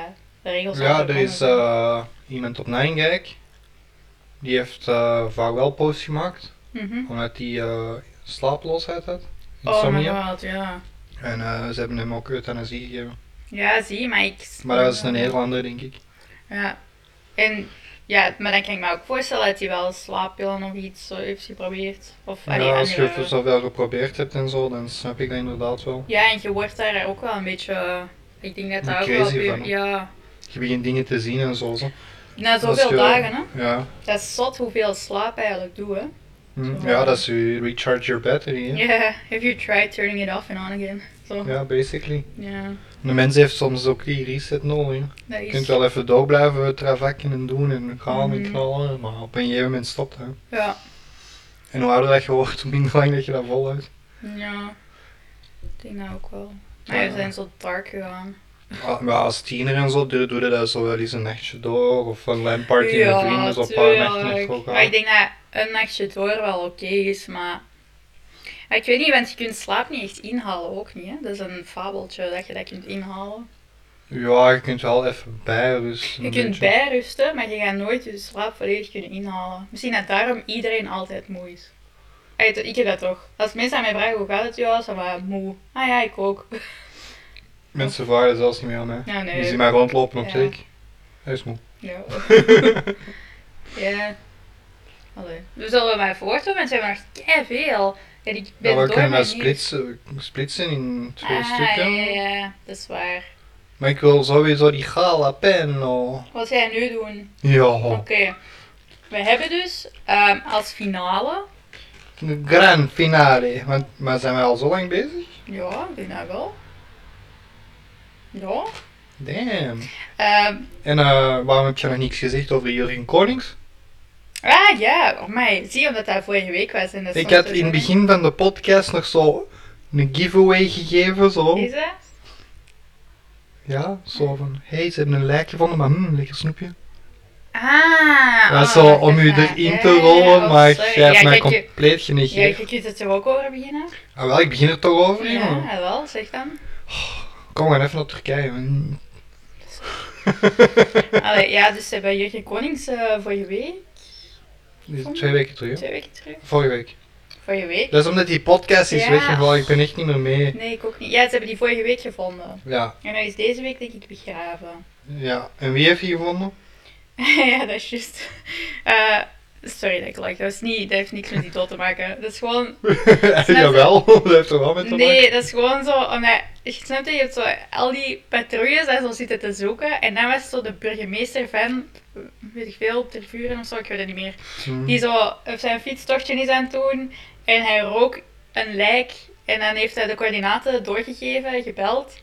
Speaker 2: regels
Speaker 3: Ja,
Speaker 2: had
Speaker 3: er is
Speaker 2: veranderd.
Speaker 3: eh, iemand op Nijmegen. Die heeft eh vaarwelpost gemaakt,
Speaker 2: Mhm.
Speaker 3: omdat hij slaaploosheid had.
Speaker 2: Oh my
Speaker 3: Insomnia.
Speaker 2: god, ja.
Speaker 3: en eh, ze hebben hem ook euthanasie gegeven.
Speaker 2: Ja, zie, maar ik...
Speaker 3: Maar dat is een Nederlander, denk ik.
Speaker 2: Ja. En ja, maar dan kan ik me ook voorstellen dat hij wel slaappillen of iets zo heeft geprobeerd. Of allee,
Speaker 3: ja, als je
Speaker 2: andere-
Speaker 3: het zoveel geprobeerd hebt en zo, dan snap ik dat inderdaad wel.
Speaker 2: ja, en je wordt daar ook wel een beetje... eh, Ik denk dat dat ook wel...
Speaker 3: Crazy
Speaker 2: weer-
Speaker 3: van.
Speaker 2: Ja.
Speaker 3: Je begint dingen te zien en zo. zo.
Speaker 2: Na
Speaker 3: Als
Speaker 2: zoveel
Speaker 3: je-
Speaker 2: dagen, hè.
Speaker 3: Ja.
Speaker 2: Dat is zot hoeveel slaap eigenlijk doe, hè.
Speaker 3: Hm.
Speaker 2: Zo.
Speaker 3: ja, dat is je recharge your battery. hè.
Speaker 2: Yeah, have you tried turning it off and on again? Zo. Ja.
Speaker 3: Ja, basically. De mens heeft soms ook die reset nodig. hè.
Speaker 2: Dat
Speaker 3: Je
Speaker 2: is...
Speaker 3: kunt wel even door blijven travakken en doen en gaan en
Speaker 2: Mhm.
Speaker 3: knallen, maar op een gegeven moment stopt hè.
Speaker 2: Ja.
Speaker 3: En hoe ouder dat je wordt, hoe minder lang dat je dat volhoudt.
Speaker 2: Ja. Ik denk dat ook wel. Maar
Speaker 3: Ja.
Speaker 2: we zijn zo dark gegaan.
Speaker 3: Ah, Maar als tiener en zo, doe doe je dat zo wel eens een nachtje door of een lamparty met vrienden, zo een paar nachten echt
Speaker 2: tuurlijk.
Speaker 3: ook
Speaker 2: Maar ik denk dat een nachtje door wel oké is, maar... maar Ik weet niet, want je kunt slaap niet echt inhalen ook niet, hè. Dat is een fabeltje dat je dat kunt inhalen.
Speaker 3: Ja, je kunt wel even bijrusten.
Speaker 2: Je
Speaker 3: een
Speaker 2: kunt
Speaker 3: beetje.
Speaker 2: bijrusten, maar je gaat nooit je slaap volledig kunnen inhalen. Misschien dat daarom iedereen altijd moe is. Ey, Ik heb dat toch. Als mensen aan mij vragen hoe gaat het, ja, ze waren moe. Ah ja, ik ook.
Speaker 3: Mensen vragen zelfs niet meer aan mij.
Speaker 2: Ja, nee.
Speaker 3: Die zien mij rondlopen op
Speaker 2: Ja.
Speaker 3: zich. Hij is moe.
Speaker 2: Ja. ja. Allee. We zullen maar voortdoen, want ze hebben nog kei veel. En ik ben
Speaker 3: Ja, we
Speaker 2: door
Speaker 3: kunnen
Speaker 2: mijn
Speaker 3: dat splitsen, splitsen in twee
Speaker 2: ah,
Speaker 3: stukken.
Speaker 2: Ja, ja, ja, dat is waar.
Speaker 3: Maar ik wil sowieso die jalapeno.
Speaker 2: Wat ga je nu doen? Oké.
Speaker 3: Ja,
Speaker 2: We hebben dus ehm, als finale.
Speaker 3: de grand finale. Want, maar zijn we al zo lang bezig?
Speaker 2: Ja, ik denk dat wel. Ja.
Speaker 3: Damn.
Speaker 2: Ehm,
Speaker 3: En eh, waarom heb je nog niks gezegd over Jurgen Konings?
Speaker 2: ah ja, mij. Zie omdat dat vorige week was. En dat
Speaker 3: Ik
Speaker 2: stond
Speaker 3: had
Speaker 2: er
Speaker 3: in
Speaker 2: zo
Speaker 3: het begin van de podcast nog zo een giveaway gegeven, zo.
Speaker 2: Is dat?
Speaker 3: Ja, zo van, hé, hey, ze hebben een lijk gevonden, maar hmm, lekker snoepje.
Speaker 2: Ah.
Speaker 3: Dat
Speaker 2: oh,
Speaker 3: is zo om
Speaker 2: dat
Speaker 3: u
Speaker 2: is dat.
Speaker 3: erin
Speaker 2: Ja,
Speaker 3: te
Speaker 2: ja, ja.
Speaker 3: rollen,
Speaker 2: Oh,
Speaker 3: maar
Speaker 2: sorry.
Speaker 3: jij hebt
Speaker 2: ja,
Speaker 3: mij
Speaker 2: kijk, je-
Speaker 3: compleet
Speaker 2: Ja,
Speaker 3: genegeerd.
Speaker 2: je kunt het er ook over beginnen.
Speaker 3: Ah wel, ik begin er toch over, jongen.
Speaker 2: Ja, wel, zeg dan.
Speaker 3: Kom maar even naar Turkije. man.
Speaker 2: Allee, ja, dus ze hebben Jurgen Konings eh vorige week,
Speaker 3: Dit is twee weken terug, hè?
Speaker 2: twee weken terug.
Speaker 3: Vorige week.
Speaker 2: Vorige week?
Speaker 3: Dat is omdat die podcast is
Speaker 2: Ja.
Speaker 3: weggevallen, ik ben echt niet meer mee.
Speaker 2: Nee, ik ook niet. Ja, ze hebben die vorige week gevonden.
Speaker 3: Ja,
Speaker 2: En hij is deze week denk ik begraven.
Speaker 3: ja. En wie heeft die gevonden?
Speaker 2: ja, dat is juist. Eh, sorry dat ik lach, dat, is niet, dat heeft niks met die dood te maken. Dat is gewoon...
Speaker 3: Jawel, dat heeft er wel mee te maken.
Speaker 2: Nee, dat is gewoon zo, omdat... Je snapt dat je hebt zo al die patrouilles en zo zitten te zoeken. En dan was zo de burgemeester van, weet ik veel, ter vuren of zo, ik weet het niet meer.
Speaker 3: Hmm.
Speaker 2: die zo op zijn fietstochtje is aan het doen en hij rook een lijk en dan heeft hij de coördinaten doorgegeven, gebeld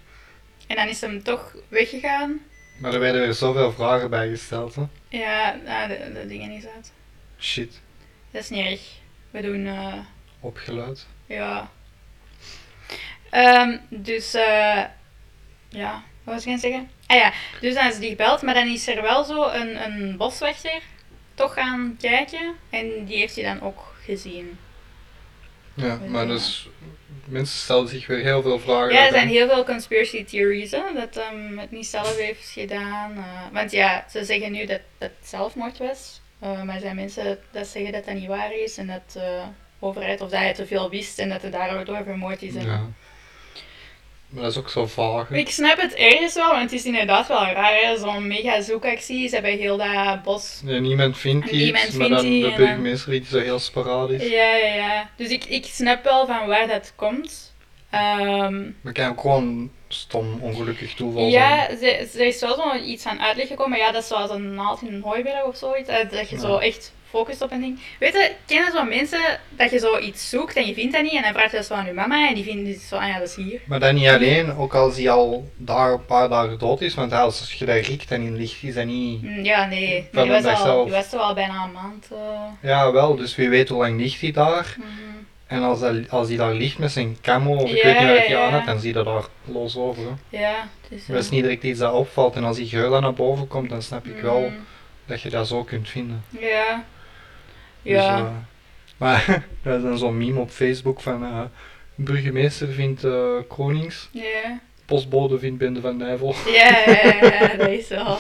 Speaker 2: en dan is hem toch weggegaan.
Speaker 3: Maar er werden weer zoveel vragen bij gesteld, hè?
Speaker 2: Ja, nou, de, de dingen is uit.
Speaker 3: Shit,
Speaker 2: Dat is niet erg. We doen, eh,
Speaker 3: opgeluid.
Speaker 2: ja. Ehm, dus, eh, ja, wat was ik aan het zeggen? Ah ja, dus dan is die gebeld, maar dan is er wel zo een, een boswachter toch gaan kijken en die heeft hij dan ook gezien.
Speaker 3: Ja, maar dus... Mensen stelden zich weer heel veel vragen.
Speaker 2: Ja, er
Speaker 3: daarbij.
Speaker 2: zijn heel veel conspiracy theories hè, dat hem het niet zelf heeft gedaan. eh, want ja, ze zeggen nu dat dat zelfmoord was. eh, maar er zijn mensen dat zeggen dat dat niet waar is en dat de overheid of dat hij te veel wist en dat hij daardoor vermoord is. En...
Speaker 3: Ja. Maar dat is ook zo vaag. hè.
Speaker 2: Ik snap het ergens wel, want het is inderdaad wel raar. hè, Zo'n mega zoekactie. Ze hebben heel dat bos
Speaker 3: Ja, niemand vindt iets,
Speaker 2: Niemand
Speaker 3: maar
Speaker 2: vindt
Speaker 3: dan
Speaker 2: die
Speaker 3: de
Speaker 2: en dan-
Speaker 3: burgemeester die zo heel sporadisch.
Speaker 2: Ja, ja, ja. Dus ik, ik snap wel van waar dat komt. Ehm,
Speaker 3: Maar kan ook gewoon stom ongelukkig toeval zijn.
Speaker 2: Ja, ze- er is wel zo'n iets van uitleg gekomen. Ja, dat is zoals een naald in een hooiberg of zoiets. eh, Dat je
Speaker 3: Ja.
Speaker 2: zo echt gefocust op een ding. Weet je, kennen zo mensen dat je zoiets zoekt en je vindt dat niet en dan vraagt je dat zo aan je mama en die vindt het zo, ah ja, dat is hier.
Speaker 3: Maar dat niet alleen, ook als hij al daar een paar dagen dood is, want als je daar riekt en in ligt, is dat niet...
Speaker 2: Mm, Ja, nee.
Speaker 3: Van
Speaker 2: Maar die,
Speaker 3: hem
Speaker 2: was al,
Speaker 3: zelf.
Speaker 2: die was toch al bijna een maand. eh,
Speaker 3: Ja, wel, dus wie weet hoe lang ligt hij daar.
Speaker 2: mhm.
Speaker 3: En als hij, als hij daar ligt met zijn camo, of ik
Speaker 2: Ja,
Speaker 3: weet niet wat
Speaker 2: ja,
Speaker 3: hij aan
Speaker 2: ja.
Speaker 3: had, dan zie je dat daar los over. Hè.
Speaker 2: Ja, het is...
Speaker 3: Dat is
Speaker 2: eh,
Speaker 3: niet direct iets dat opvalt. En als die geur dan naar boven komt, dan snap ik wel
Speaker 2: mm,
Speaker 3: dat je dat zo kunt vinden.
Speaker 2: Ja.
Speaker 3: Dus,
Speaker 2: Ja.
Speaker 3: eh, maar dat is dan zo'n meme op Facebook van eh, burgemeester vindt eh, Konings,
Speaker 2: Ja.
Speaker 3: postbode vindt Bende van Nijvel.
Speaker 2: Ja, ja, ja, ja, dat is wel.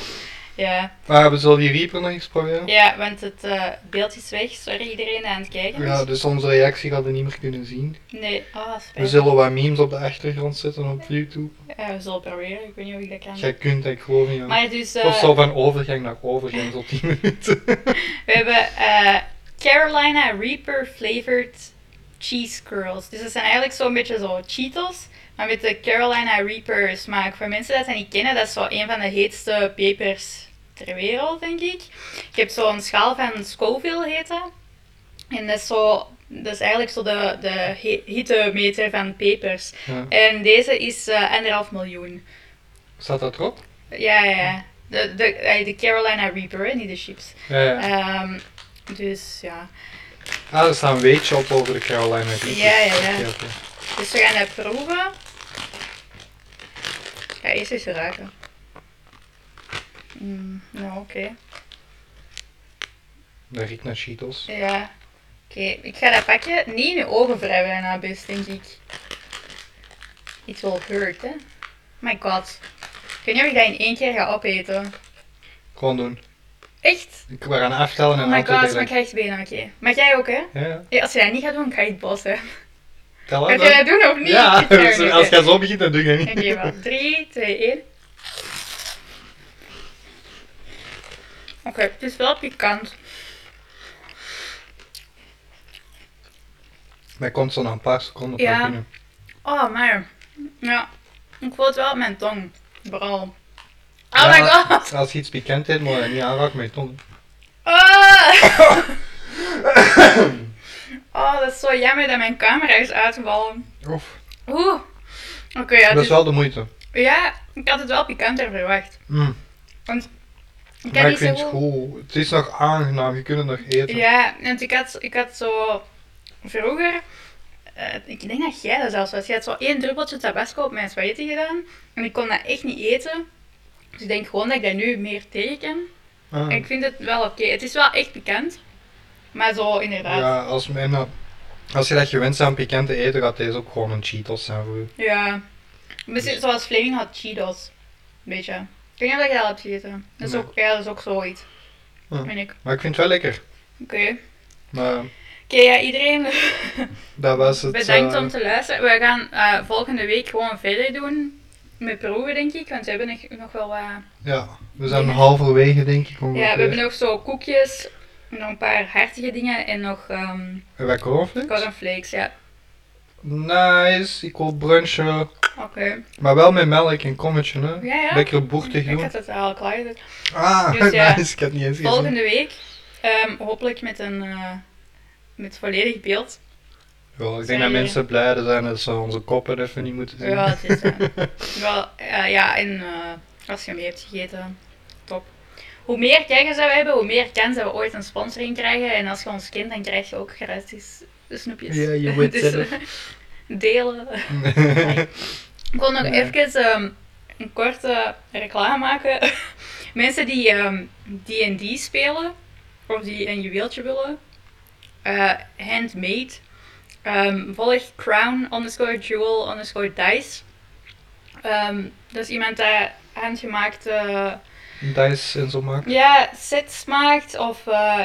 Speaker 2: Ja,
Speaker 3: Maar we zullen die Reaper nog eens proberen.
Speaker 2: ja want het eh, beeld is weg. Sorry iedereen die aan het kijken is.
Speaker 3: Ja, dus onze reactie gaat we niet meer kunnen zien.
Speaker 2: Nee, ah,
Speaker 3: We
Speaker 2: spijt.
Speaker 3: zullen wat memes op de achtergrond zetten op YouTube.
Speaker 2: Ja, Eh, we zullen proberen. Ik weet niet of ik dat kan.
Speaker 3: Jij kunt dat, ik geloof in jou.
Speaker 2: Maar dus, eh,
Speaker 3: Of zo van overgang naar overgang, tot 10 minuten.
Speaker 2: we hebben eh, Carolina Reaper Flavored Cheese Curls. Dus dat zijn eigenlijk zo'n beetje zo Cheetos, maar met de Carolina Reaper smaak. Voor mensen dat dat niet kennen, dat is zo een van de heetste pepers ter wereld, denk ik. Ik heb zo'n schaal van Scoville heet dat. En dat is zo... Dat is eigenlijk zo de, de he- hittemeter van pepers.
Speaker 3: Ja.
Speaker 2: En deze is eh, anderhalf miljoen.
Speaker 3: Staat dat erop?
Speaker 2: Ja, ja, ja. De, de, eh, de Carolina Reaper, hè, niet de chips.
Speaker 3: Ja, ja.
Speaker 2: Ehm, dus ja.
Speaker 3: Ah, er staat een weetje op over de Carolina Reaper.
Speaker 2: Ja, ja, ja.
Speaker 3: Oké, oké.
Speaker 2: Dus we gaan dat proeven. Ik ga eerst eens ruiken. Mm, nou, oké.
Speaker 3: Dat riekt naar Cheetos.
Speaker 2: Ja. Oké, ik ga dat pakje niet in je ogen wrijven daarna best, denk ik. It will hurt, hè. My god. Ik weet niet of ik dat in één keer ga opeten.
Speaker 3: Gewoon doen.
Speaker 2: Echt?
Speaker 3: Ik- We gaan aftellen en
Speaker 2: Oh my
Speaker 3: dan
Speaker 2: god, maar ik ga echt benen, oké. Maar jij ook, hè?
Speaker 3: Ja, ja.
Speaker 2: Ja, als je dat niet gaat doen, ga je het bos, hè.
Speaker 3: Tel
Speaker 2: Gaat
Speaker 3: uit,
Speaker 2: je
Speaker 3: hè.
Speaker 2: dat doen of niet?
Speaker 3: Ja,
Speaker 2: Ik weet het
Speaker 3: dus
Speaker 2: niet,
Speaker 3: als
Speaker 2: hè.
Speaker 3: jij zo begint, dan doe je dat
Speaker 2: Oké,
Speaker 3: niet.
Speaker 2: wel. 3, 2, 1. Oké, het is wel pikant.
Speaker 3: Dat komt zo na een paar seconden
Speaker 2: Ja.
Speaker 3: naar binnen.
Speaker 2: Oh, maar. Ja, ik voel het wel op mijn tong. Vooral. Oh
Speaker 3: Ja.
Speaker 2: my god!
Speaker 3: Als je iets pikant hebt, moet je dat niet aanraken met je tong.
Speaker 2: Oh! oh, dat is zo jammer dat mijn camera is uitgevallen.
Speaker 3: Oef.
Speaker 2: Oeh. Oké, ja,
Speaker 3: Dat
Speaker 2: dus,
Speaker 3: is wel de moeite.
Speaker 2: ja, ik had het wel pikanter verwacht.
Speaker 3: Mm.
Speaker 2: Ik had
Speaker 3: Maar ik
Speaker 2: niet zo
Speaker 3: vind het
Speaker 2: goed-
Speaker 3: goed. Het is nog aangenaam, je kunt het nog eten.
Speaker 2: Ja, want ik had, ik had zo vroeger, eh, ik denk dat jij dat zelfs was, je had zo één druppeltje tabasco op mijn spaghetti gedaan en ik kon dat echt niet eten. Dus ik denk gewoon dat ik dat nu meer tegen kan.
Speaker 3: Ah.
Speaker 2: En ik vind het wel oké. Het is wel echt bekend, maar zo inderdaad. Ja.
Speaker 3: Ja, als, men, eh, als je dat gewend bent aan pikante eten, gaat deze ook gewoon een Cheetos zijn voor u.
Speaker 2: Misschien zoals Fleming had Cheetos, een beetje. Ik weet niet of je dat hebt gegeten. Dat is,
Speaker 3: Nee.
Speaker 2: ook, ja, dat is ook zoiets,
Speaker 3: Hm.
Speaker 2: vind ik.
Speaker 3: Maar ik vind het wel lekker.
Speaker 2: Oké.
Speaker 3: Maar
Speaker 2: Oké, ja, iedereen...
Speaker 3: dat was het.
Speaker 2: Bedankt
Speaker 3: eh,
Speaker 2: om te luisteren. We gaan eh, volgende week gewoon verder doen met proeven, denk ik. Want we hebben nog- nog wel wat...
Speaker 3: Ja, we zijn halverwege denk ik.
Speaker 2: Ja,
Speaker 3: ongeveer.
Speaker 2: we hebben nog zo koekjes, nog een paar hartige dingen en nog ehm
Speaker 3: Hebben wij cornflakes?
Speaker 2: cornflakes, ja.
Speaker 3: Nice, ik wil brunchen.
Speaker 2: Oké.
Speaker 3: Maar wel met melk en kommetje, hè?
Speaker 2: Ja, ja.
Speaker 3: Lekker boertig
Speaker 2: Ik
Speaker 3: doen.
Speaker 2: had het al klaar. gezet.
Speaker 3: Ah,
Speaker 2: Dus ja,
Speaker 3: nice, ik had niet eens gezien.
Speaker 2: Volgende week, ehm, hopelijk met een... eh, met volledig beeld.
Speaker 3: Wel,
Speaker 2: Zijn
Speaker 3: ik denk dat
Speaker 2: jullie-
Speaker 3: mensen blij zijn dat ze onze koppen even niet moeten zien.
Speaker 2: Ja, het is... eh, wel, eh, ja, en eh, als je mee hebt gegeten, top. Hoe meer kijkers dat we hebben, hoe meer kans dat we ooit een sponsoring krijgen. En als je ons kent, dan krijg je ook gratis snoepjes.
Speaker 3: Ja, je weet
Speaker 2: Dus,
Speaker 3: zelf.
Speaker 2: eh, Delen. Ik wil nog
Speaker 3: Ja.
Speaker 2: even ehm, een korte reclame maken. Mensen die ehm, D&D spelen, of die een juweeltje willen, eh, handmade, ehm, volg crown underscore jewel underscore dice. Ehm, dat is iemand die handgemaakte
Speaker 3: Dice en zo maken.
Speaker 2: ja, sets maakt, of eh,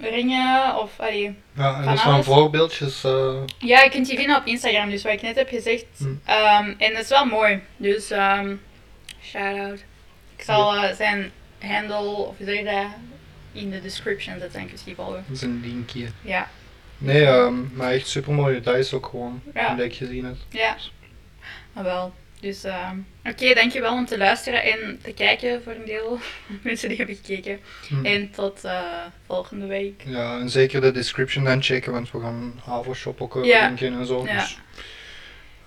Speaker 2: ringen, of... allee,
Speaker 3: Ja, en
Speaker 2: Van
Speaker 3: dat zijn
Speaker 2: alles?
Speaker 3: voorbeeldjes. eh,
Speaker 2: Ja, je kunt die vinden op Instagram, dus wat ik net heb gezegd.
Speaker 3: Hmm.
Speaker 2: Ehm, en dat is wel mooi. Dus ehm shout-out. Ik zal eh, zijn handle, of hoe zeg je dat, in de description zetten en kun je die volgen.
Speaker 3: dat is een linkje.
Speaker 2: Ja,
Speaker 3: Nee, ehm, maar echt super mooie dice ook gewoon.
Speaker 2: Ja.
Speaker 3: Omdat ik gezien heb.
Speaker 2: ja. Ah, wel. Dus eh, oké, dankjewel om te luisteren en te kijken voor een deel. Mensen die hebben gekeken.
Speaker 3: Hm.
Speaker 2: En tot eh, volgende week.
Speaker 3: Ja, en zeker de description dan checken, want we gaan Havershop ook eh,
Speaker 2: Ja.
Speaker 3: linken en zo.
Speaker 2: Ja.
Speaker 3: Dus,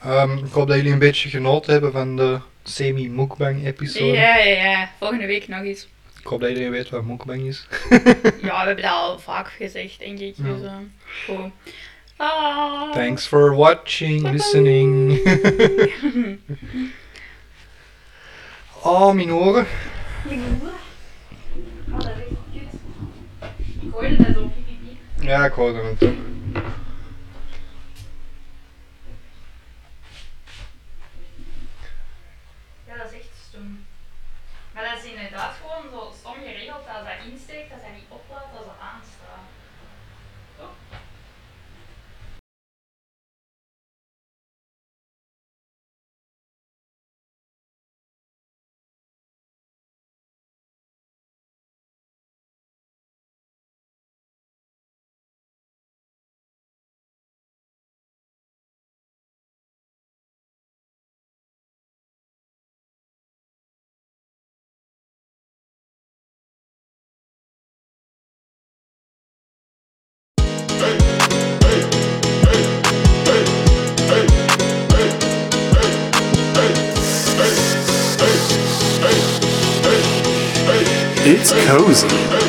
Speaker 3: ehm, ik hoop dat jullie een beetje genoten hebben van de semi-mukbang-episode.
Speaker 2: Ja, ja, ja. Volgende week nog eens.
Speaker 3: Ik hoop dat iedereen weet wat mukbang is.
Speaker 2: Ja, we hebben dat al vaak gezegd, denk ik.
Speaker 3: Ja.
Speaker 2: Dus, eh, goed. Ah.
Speaker 3: Thanks for watching,
Speaker 2: Bye-bye.
Speaker 3: listening. oh, mijn oren.
Speaker 2: Ah, dat is echt kut. Ik hoorde dat zo.
Speaker 3: Ja, ik hoorde het ook.
Speaker 2: Ja, dat is echt stom. Maar dat is inderdaad gewoon zo stom geregeld dat als dat insteekt, dat hij niet oplaat als dat aanstaat.
Speaker 1: It's cozy.